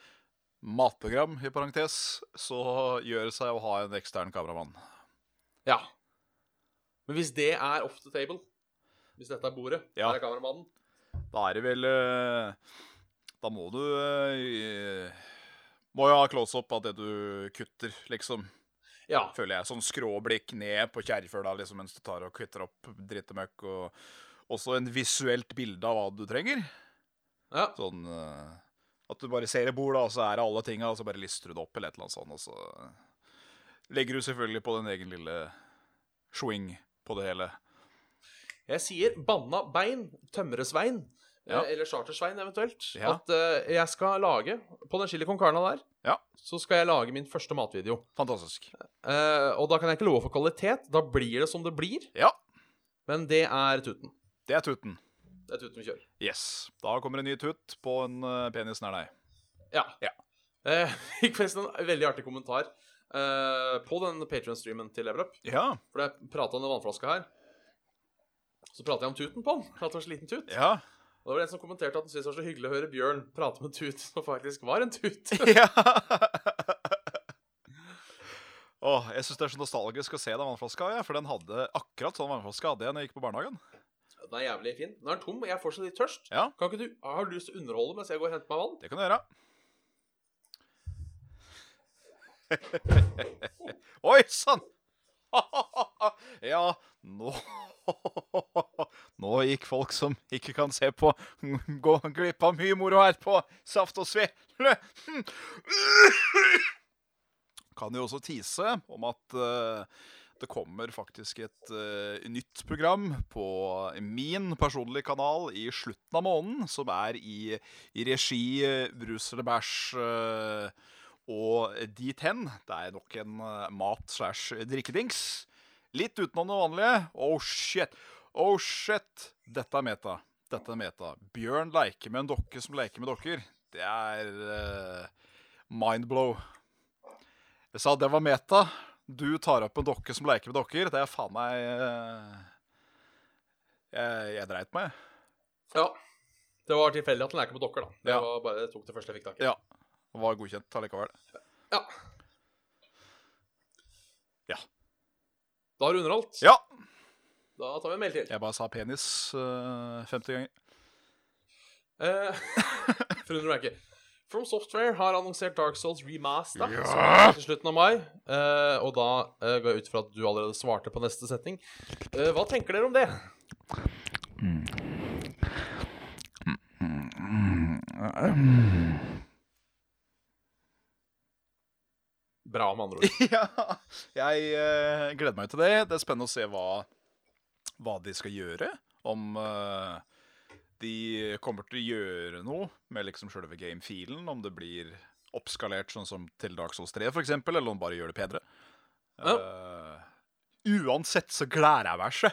Speaker 2: matprogram, i parentes, så gjør det seg å ha en ekstern kameramann.
Speaker 1: Ja. Men hvis det er off the table, hvis dette er bordet,
Speaker 2: Ja.
Speaker 1: der er kameramannen
Speaker 2: Da er det vel eh, Da må du eh, Må jo ha close-up av det du kutter, liksom.
Speaker 1: Ja.
Speaker 2: Føler jeg. Sånn skråblikk ned på kjerrføla liksom, mens du tar og kvitter opp drittemøkk. Og også en visuelt bilde av hva du trenger.
Speaker 1: ja.
Speaker 2: Sånn eh, at du bare ser i bordet, og så er det alle tinga, og så bare lister du det opp eller et eller annet sånt, og så legger du selvfølgelig på din egen lille swing på det hele.
Speaker 1: Jeg sier banna bein, tømresvein,
Speaker 2: Ja.
Speaker 1: eh, eller chartersvein eventuelt,
Speaker 2: Ja.
Speaker 1: at eh, jeg skal lage, på den chili con carna der,
Speaker 2: Ja.
Speaker 1: så skal jeg lage min første matvideo.
Speaker 2: Fantastisk.
Speaker 1: Eh, og da kan jeg ikke love for kvalitet. Da blir det som det blir.
Speaker 2: Ja,
Speaker 1: Men det er tuten.
Speaker 2: det er tuten.
Speaker 1: Det er tuten vi kjører.
Speaker 2: Yes. Da kommer en ny tut på en eh, penis nær deg.
Speaker 1: Ja.
Speaker 2: Ja.
Speaker 1: Eh, fikk forresten en veldig artig kommentar eh, på den Patrion-streamen til Leverup.
Speaker 2: Ja.
Speaker 1: For jeg prata om den vannflaska her. Så prata jeg om tuten på den. for At det var så liten tut.
Speaker 2: Ja.
Speaker 1: Og det var en som kommenterte at han syntes det var så hyggelig å høre Bjørn prate med tut som faktisk var en tut.
Speaker 2: ja. Åh, jeg syns det er så nostalgisk å se den vannflaska, ja, for den hadde akkurat sånn vannflaske hadde jeg når jeg gikk på barnehagen.
Speaker 1: Den er jævlig fin. Den er tom, og jeg er fortsatt litt tørst.
Speaker 2: Ja.
Speaker 1: Kan ikke du, Har du lyst til å underholde mens jeg går og henter meg vann?
Speaker 2: Det kan du gjøre. Oi sann! ja, nå Nå gikk folk som ikke kan se på, gå glipp av mye moro her på Saft og Sve. Kan jo også tise om at eh, det kommer faktisk et eh, nytt program på min personlige kanal i slutten av måneden, som er i, i regi eh, Brus eller bæsj. eh, og dit hen. Det er nok en eh, mat slash drikkedings. Litt utenom det vanlige. Oh shit. Oh shit. Dette er meta. Dette er meta. Bjørn leker med en dokke som leker med dokker. Det er uh, mindblow. Jeg sa det var meta. Du tar opp en dokke som leker med dokker. Det er faen meg eh, jeg, jeg dreit meg.
Speaker 1: Ja. Det var tilfeldig at den leker med dokker, da. Det
Speaker 2: Ja.
Speaker 1: var bare jeg tok det første jeg fikk tak i.
Speaker 2: Ja. Var godkjent allikevel.
Speaker 1: Ja.
Speaker 2: Ja.
Speaker 1: Da har du underholdt.
Speaker 2: Ja.
Speaker 1: Da tar vi en mail til.
Speaker 2: Jeg bare sa penis eh, 50 ganger.
Speaker 1: Eh, Forundrer meg ikke. From Software har annonsert Dark Souls Remaster
Speaker 2: Ja!
Speaker 1: som kommer til slutten av mai. Eh, og da eh, går jeg ut fra at du allerede svarte på neste setning. Eh, hva tenker dere om det? Bra, med andre ord.
Speaker 2: ja, jeg eh, gleder meg til det. Det er spennende å se hva, hva de skal gjøre. Om eh, de kommer til å gjøre noe med liksom selve gamefilen. Om det blir oppskalert sånn som til Dark Souls 3 f.eks., eller om de bare gjør det bedre. Eh, uansett så gleder jeg meg så.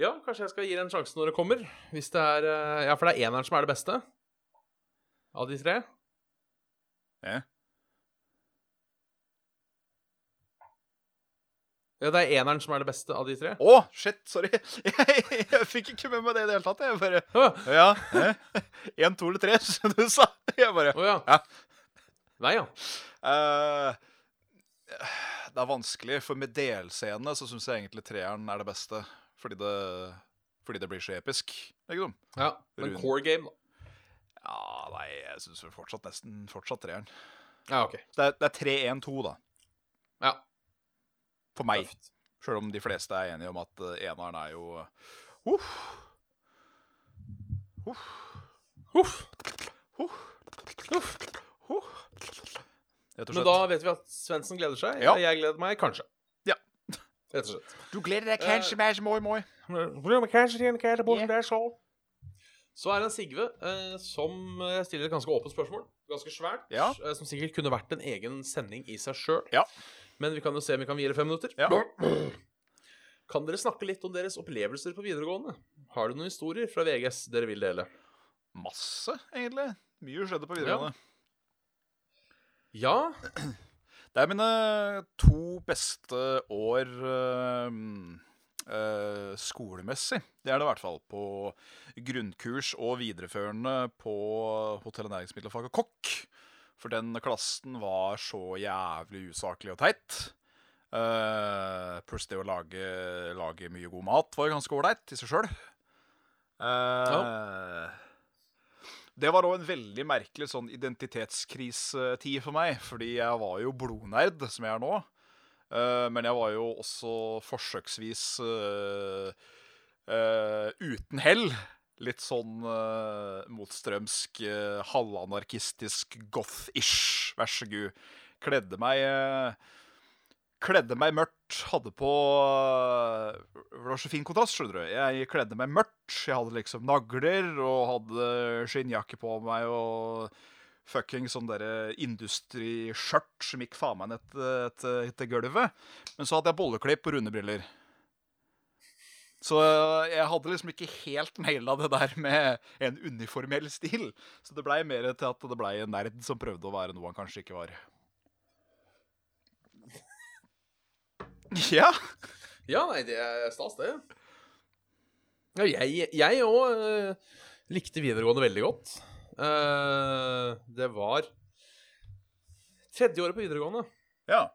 Speaker 1: Ja, kanskje jeg skal gi det en sjanse når det kommer. Hvis det er eh, Ja, for det er eneren som er det beste av de tre.
Speaker 2: Ja.
Speaker 1: Ja, det er eneren som er det beste av de tre.
Speaker 2: Å, shit, sorry. Jeg, jeg fikk ikke med meg det i det hele tatt. Jeg bare
Speaker 1: Å
Speaker 2: Ja. Én, to eller tre, som du sa. Jeg bare
Speaker 1: ja.
Speaker 2: Ja.
Speaker 1: Nei, ja.
Speaker 2: Eh, det er vanskelig, for med delscenene så syns jeg egentlig treeren er det beste. Fordi det, fordi det blir så episk. Liksom.
Speaker 1: ja. Men
Speaker 2: Rune.
Speaker 1: core game, da.
Speaker 2: Ja, nei, jeg syns fortsatt nesten fortsatt treeren.
Speaker 1: Ja, OK.
Speaker 2: Så Det er, det er 3-1-2, da.
Speaker 1: Ja.
Speaker 2: For meg.
Speaker 1: Tøft.
Speaker 2: Sjøl om de fleste er enige om at eh, eneren er jo eh, Uff. Uff.
Speaker 1: Uff.
Speaker 2: Uff.
Speaker 1: Uff.
Speaker 2: Uff. Rett og
Speaker 1: Men
Speaker 2: slett.
Speaker 1: da vet vi at Svendsen gleder seg.
Speaker 2: Ja.
Speaker 1: Jeg gleder meg kanskje.
Speaker 2: Ja.
Speaker 1: Rett og slett.
Speaker 2: Du gleder deg
Speaker 1: kanskje
Speaker 2: mer til moi-moi.
Speaker 1: Så er det en Sigve eh, som eh, stiller et ganske åpent spørsmål. Ganske svært.
Speaker 2: Ja.
Speaker 1: Eh, som sikkert kunne vært en egen sending i seg sjøl.
Speaker 2: Ja.
Speaker 1: Men vi kan jo se om vi kan vie det fem minutter.
Speaker 2: Ja.
Speaker 1: Kan dere snakke litt om deres opplevelser på videregående? Har du noen historier fra VGS dere vil dele?
Speaker 2: Masse, egentlig. Mye skjedde på videregående.
Speaker 1: Ja.
Speaker 2: Det er mine to beste år øhm, øh, skolemessig. Det er det i hvert fall på grunnkurs og videreførende på hotell- og næringsmiddelfaget kokk. For den klassen var så jævlig usaklig og teit. Eh, pluss det å lage, lage mye god mat var jo ganske ålreit i seg sjøl. Det var òg en veldig merkelig sånn identitetskrisetid for meg, fordi jeg var jo blodnerd, som jeg er nå. Eh, men jeg var jo også forsøksvis eh, eh, uten hell. Litt sånn eh, motstrømsk, eh, halvanarkistisk, goth-ish, vær så god. Kledde meg eh, Kledde meg mørkt, hadde på eh, Det var så fin kontrast, skjønner du. Jeg kledde meg mørkt. Jeg hadde liksom nagler og hadde skinnjakke på meg og fucking sånn derre industriskjørt som gikk faen meg ned til, til, til gulvet. Men så hadde jeg bolleklipp og runde briller. Så jeg hadde liksom ikke helt naila det der med en uniformell stil. Så det blei mer til at det blei en nerd som prøvde å være noe han kanskje ikke var. Ja.
Speaker 1: Ja, nei, det er stas, det. Ja, jeg- jeg òg likte videregående veldig godt. Eh, det var Tredje året på videregående
Speaker 2: Ja.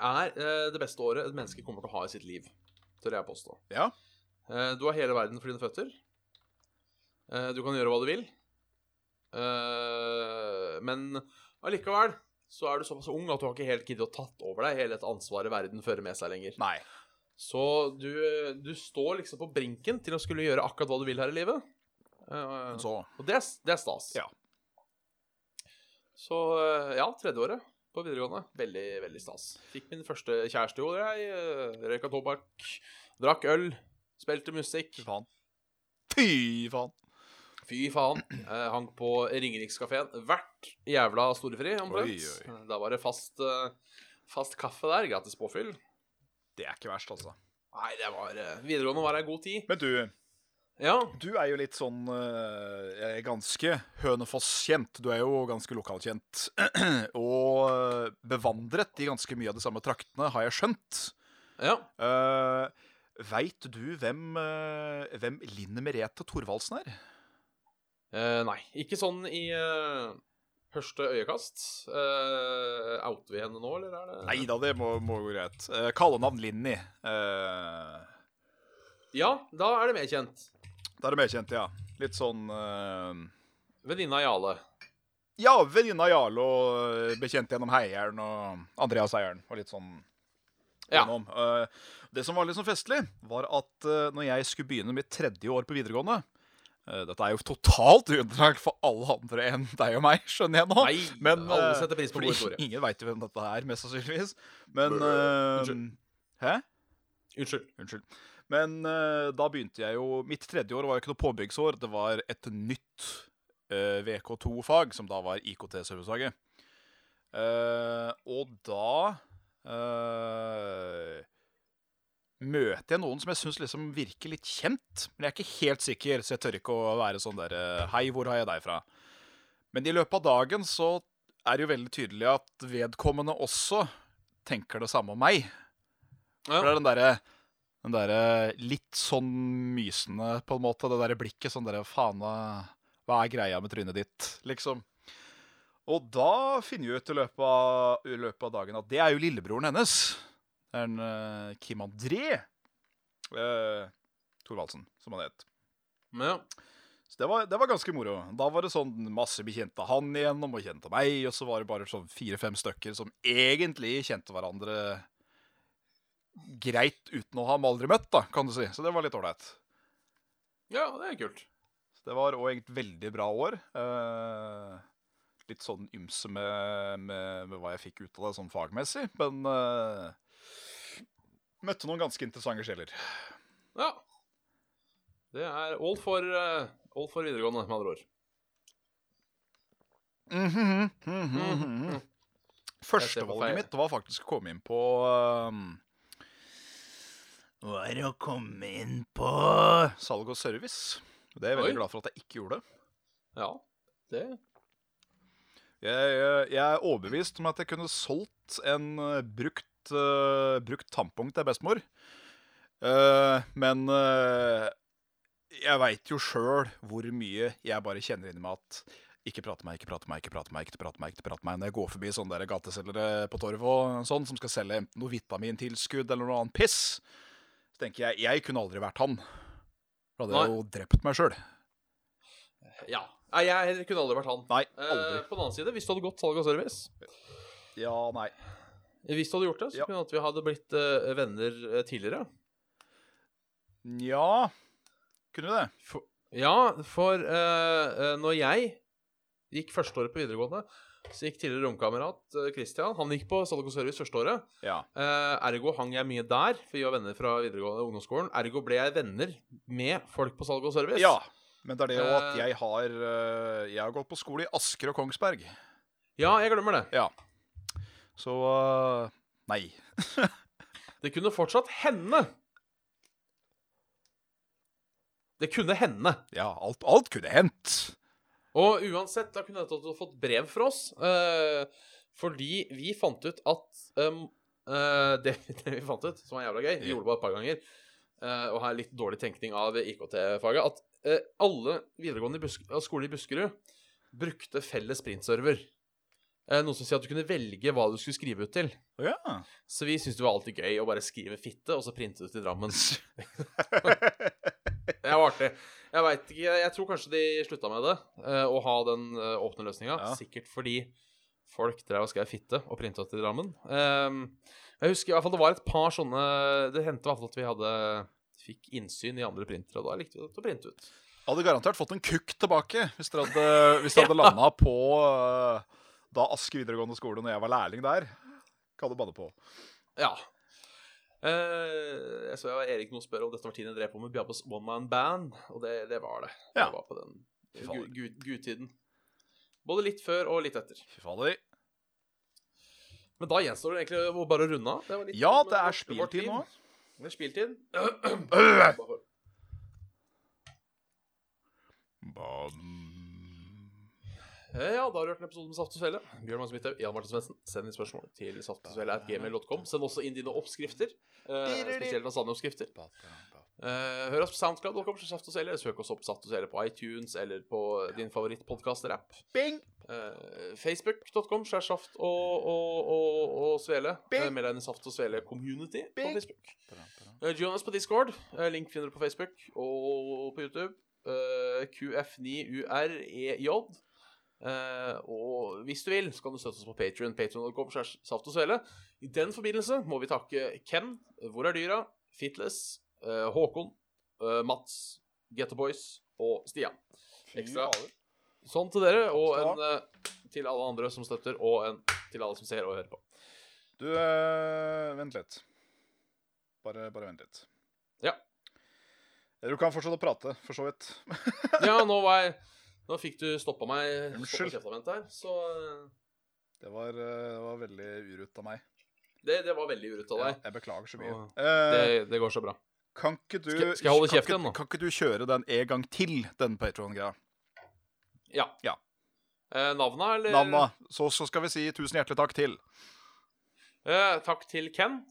Speaker 1: er eh, det beste året et menneske kommer til å ha i sitt liv, tør jeg påstå.
Speaker 2: Ja.
Speaker 1: Eh, du har hele verden for dine føtter. Eh, du kan gjøre hva du vil. Eh, men allikevel så er du såpass ung at du har ikke helt giddet å tatt over deg hele dette ansvaret verden fører med seg lenger.
Speaker 2: Nei.
Speaker 1: Så du, du står liksom på brinken til å skulle gjøre akkurat hva du vil her i livet. Eh,
Speaker 2: Men så
Speaker 1: og det er, s- det er stas.
Speaker 2: Ja.
Speaker 1: Så eh, ja, tredjeåret på videregående. Veldig, veldig stas. Fikk min første kjæreste i år, jeg. eh, Røyka tobakk, drakk øl, spilte musikk.
Speaker 2: Fy faen. Fy faen.
Speaker 1: Fy faen. Eh, hang på Ringerikskafeen hvert jævla storefri, omtrent.
Speaker 2: Oi,
Speaker 1: Da var det fast, eh, fast kaffe der. Gratis påfyll.
Speaker 2: Det er ikke verst, altså.
Speaker 1: Nei, det var eh, Videregående var ei god tid.
Speaker 2: Men du,
Speaker 1: Ja.
Speaker 2: du er jo litt sånn eh, jeg er ganske Hønefoss-kjent. Du er jo ganske lokalkjent. Og eh, bevandret i ganske mye av de samme traktene, har jeg skjønt.
Speaker 1: ja.
Speaker 2: Uh, Veit du hvem, eh, hvem Linn Merete Thorvaldsen er?
Speaker 1: Eh, nei. Ikke sånn i eh, første øyekast. Eh, outer vi henne nå, eller er det
Speaker 2: Nei da, det må, må gå greit. Uh, Kallenavn Linni. Eh,
Speaker 1: Ja, da er det mer kjent.
Speaker 2: da er det mer kjent, ja. Litt sånn eh,
Speaker 1: Venninna Jale.
Speaker 2: Ja, venninna Jarle og eh, bekjent gjennom Heieren og Andreas Eieren og litt sånn
Speaker 1: Ja.
Speaker 2: gjennom. Eh, det som var litt sånn festlig, var at eh, når jeg skulle begynne mitt tredje år på videregående eh, Dette er jo totalt unntak for alle andre enn deg og meg, skjønner jeg nå.
Speaker 1: Nei,
Speaker 2: Men,
Speaker 1: alle
Speaker 2: eh,
Speaker 1: setter pris på
Speaker 2: Fordi
Speaker 1: gode historier.
Speaker 2: ingen veit jo hvem dette er, mest sannsynligvis. Men
Speaker 1: Bø.
Speaker 2: eh,
Speaker 1: Unnskyld.
Speaker 2: Hæ?
Speaker 1: Unnskyld.
Speaker 2: Unnskyld. Men eh, da begynte jeg jo Mitt tredje år var jo ikke noe påbyggsår, det var et nytt eh, VK2-fag, som da var IKT-servicefaget. Eh, og da eh, møter jeg noen som jeg syns liksom virker litt kjent, men jeg er ikke helt sikker, så jeg tør ikke å være sånn derre Hei, hvor har jeg deg fra? Men i løpet av dagen så er det jo veldig tydelig at vedkommende også tenker det samme om meg.
Speaker 1: Ja.
Speaker 2: For det er den derre den derre litt sånn mysende, på en måte. Det derre blikket sånn derre Faen, hva- hva er greia med trynet ditt? Liksom. Og da finner vi ut i løpet av, i løpet av dagen at det er jo lillebroren hennes. Det er en eh, Kim André uh, Thorvaldsen, som han het.
Speaker 1: Men, ja.
Speaker 2: Så det var, det var ganske moro. Da var det sånn masse bekjente av han igjennom, og kjente av meg, og så var det bare sånn fire-fem stykker som egentlig kjente hverandre greit uten å ha dem aldri møtt, da, kan du si. Så det var litt ålreit.
Speaker 1: ja, det er kult.
Speaker 2: Så det var òg egentlig et veldig bra år. Eh, litt sånn ymse med, med, med hva jeg fikk ut av det sånn fagmessig, men eh, Møtte noen ganske interessante sjeler.
Speaker 1: Ja. Det er all for, eh, all for videregående, med andre ord.
Speaker 2: Mhm, mhm, mhm.
Speaker 1: Jeg ser på
Speaker 2: Førstevalget
Speaker 1: feil.
Speaker 2: mitt var faktisk å komme inn på ehm, Var å komme inn på salg og service. Det er jeg veldig
Speaker 1: Oi.
Speaker 2: glad for at jeg ikke gjorde.
Speaker 1: Ja. Det
Speaker 2: Jeg, eh, jeg er overbevist om at jeg kunne solgt en eh, brukt, eh, brukt tampong til bestemor. Eh, men eh, jeg veit jo sjøl hvor mye jeg bare kjenner inni meg at ikke prate meg, ikke prate meg, ikke prate meg, ikke prate meg. ikke prate meg. Når jeg går forbi sånne der gateselgere på torvet og sånn, som skal selge enten noe vitamintilskudd eller noe annet piss, så tenker jeg jeg kunne aldri vært han. For da hadde
Speaker 1: Nei.
Speaker 2: jeg jo drept meg sjøl.
Speaker 1: Ja. Nei, jeg heller kunne aldri vært han.
Speaker 2: Nei,
Speaker 1: Eh,
Speaker 2: aldri.
Speaker 1: på den annen side, hvis du hadde gått salg og service
Speaker 2: Ja, nei.
Speaker 1: Hvis du hadde gjort det, så
Speaker 2: Ja.
Speaker 1: kunne det at vi hadde blitt eh, venner eh, tidligere.
Speaker 2: Nja Kunne det?
Speaker 1: For, ja, for eh, eh, når jeg gikk førsteåret på videregående, så gikk tidligere romkamerat eh, Christian Han gikk på salg og service førsteåret.
Speaker 2: Ja.
Speaker 1: Eh, ergo hang jeg mye der, for vi var venner fra videregående ungdomsskolen. Ergo ble jeg venner med folk på salg og service.
Speaker 2: Ja, men det er det jo at
Speaker 1: Eh.
Speaker 2: jeg har eh, Jeg har gått på skole i Asker og Kongsberg.
Speaker 1: Ja, jeg glemmer det.
Speaker 2: Så eh, nei.
Speaker 1: Det kunne fortsatt hende. Det kunne hende.
Speaker 2: Ja, alt, alt kunne hendt.
Speaker 1: Og uansett, da kunne dette fått brev fra oss. eh, fordi vi fant ut at em, eh, det, det vi fant ut, som var jævla gøy, vi
Speaker 2: Ja.
Speaker 1: gjorde det bare et par ganger, eh, og her litt dårlig tenkning av IKT-faget, at eh, alle videregående i Busk ja, skole i Buskerud brukte felles printserver. Eh, noe som sier at du kunne velge hva du skulle skrive ut til.
Speaker 2: Å Ja.
Speaker 1: Så vi syntes det var alltid gøy å bare skrive 'fitte', og så printe det ut i Drammen. Det var artig. Jeg vet ikke, jeg tror kanskje de slutta med det, eh, å ha den eh, åpne løsninga.
Speaker 2: Ja.
Speaker 1: Sikkert fordi Folk drev og skrev 'fitte' og printa til Drammen. Ehm, jeg husker i hvert fall det var et par sånne Det hendte i hvert fall at vi hadde fikk innsyn i andre printere, og da likte vi det å printe ut.
Speaker 2: Hadde garantert fått en kukk tilbake hvis dere hadde, hvis dere hadde landa på eh, da Aske videregående skole, når jeg var lærling der. Kan du banne på.
Speaker 1: Ja. Eh, jeg så jeg Erik nå spør om dette var tiden jeg drev på med Bjabbes One Man Band, og det, det var det.
Speaker 2: Ja.
Speaker 1: Det var på den
Speaker 2: Fy
Speaker 1: gu-
Speaker 2: fader.
Speaker 1: gu- gudtiden. Både litt før og litt etter.
Speaker 2: Fy fader.
Speaker 1: Men da gjenstår det egentlig å bare runde av. Det var litt-
Speaker 2: Ja, det
Speaker 1: vår-
Speaker 2: er
Speaker 1: vår
Speaker 2: spiltid
Speaker 1: tid.
Speaker 2: nå.
Speaker 1: Det er spiltid. Eh, Ja, da har du hørt en episode med Saft og Svele. Bjørn Magnus Midthaug, Jan Martin Svendsen. Send inn spørsmål til saftogsvele.gmail.com. Send også inn dine oppskrifter. Eh, spesielt lasagneoppskrifter. Eh, hør oss på SoundCloud.com. Saft og Svele. Søk oss opp Saft og Svele på iTunes eller på din favorittpodkaster-app.
Speaker 2: Bing!
Speaker 1: Eh, Facebook.com slash saft og, og, og, og svele.
Speaker 2: Bing.
Speaker 1: Eh, Meld deg inn i Saft og Svele community på
Speaker 2: Bing.
Speaker 1: Facebook. Eh, join oss på Discord. Eh, link finner du på Facebook og på YouTube. Eh, QF9UREJ. E Eh, og hvis du vil, så kan du støtte oss på Patrion. Patreon.com slash saft og svele. I den forbindelse må vi takke Ken, Hvor er dyra, Fitless, eh, Håkon, eh, Mats, Ghetto Boys og Stian. Ekstra. Sånn til dere, og
Speaker 2: Takk skal
Speaker 1: en eh, til alle andre som støtter, og en til alle som ser og hører på.
Speaker 2: Du, eh, vent litt. Bare, bare vent litt.
Speaker 1: Ja.
Speaker 2: Du kan fortsette å prate, for så vidt.
Speaker 1: Ja, nå var jeg Nå fikk du stoppa meg
Speaker 2: Unnskyld.
Speaker 1: stoppet kjefta vent her, så eh,
Speaker 2: Det var, eh, det var veldig urutt av meg.
Speaker 1: det, det var veldig urett av
Speaker 2: Ja,
Speaker 1: deg.
Speaker 2: jeg beklager så mye.
Speaker 1: Åh.
Speaker 2: Eh,
Speaker 1: Det, det går så bra.
Speaker 2: kan ikke du
Speaker 1: Skal- skal jeg holde
Speaker 2: kan
Speaker 1: kjeft igjen
Speaker 2: ikke-
Speaker 1: nå?
Speaker 2: Kan ikke du kjøre den en gang til, den Patron-greia?
Speaker 1: Ja.
Speaker 2: Ja.
Speaker 1: Eh, navna, eller?
Speaker 2: Navna. Så, så skal vi si tusen hjertelig takk til.
Speaker 1: Eh, takk til Ken.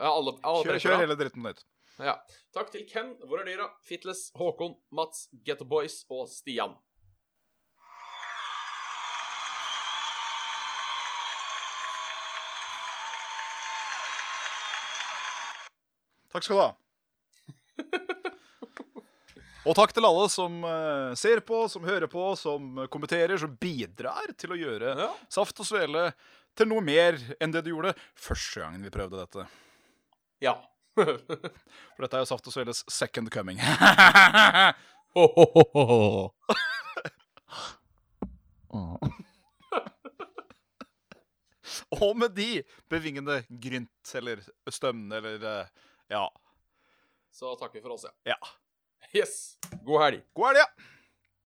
Speaker 1: Ja, alle, alle
Speaker 2: Kjør,
Speaker 1: trekker
Speaker 2: kjør
Speaker 1: da.
Speaker 2: hele dritten nytt.
Speaker 1: Ja. Takk til Ken, Hvor er dyra, Fitles, Håkon, Mats, Get the Boys og Stian.
Speaker 2: Takk skal du ha. Og takk til alle som eh, ser på, som hører på, som eh, kommenterer, som bidrar til å gjøre
Speaker 1: Ja.
Speaker 2: Saft og Svele til noe mer enn det du gjorde første gangen vi prøvde dette.
Speaker 1: ja.
Speaker 2: For dette er jo Saft og Sveles second coming. Og med de bevingende grynt eller stønn eller eh, ja.
Speaker 1: Så takker vi for oss, ja.
Speaker 2: ja.
Speaker 1: Yes. God helg.
Speaker 2: God helg! Ja.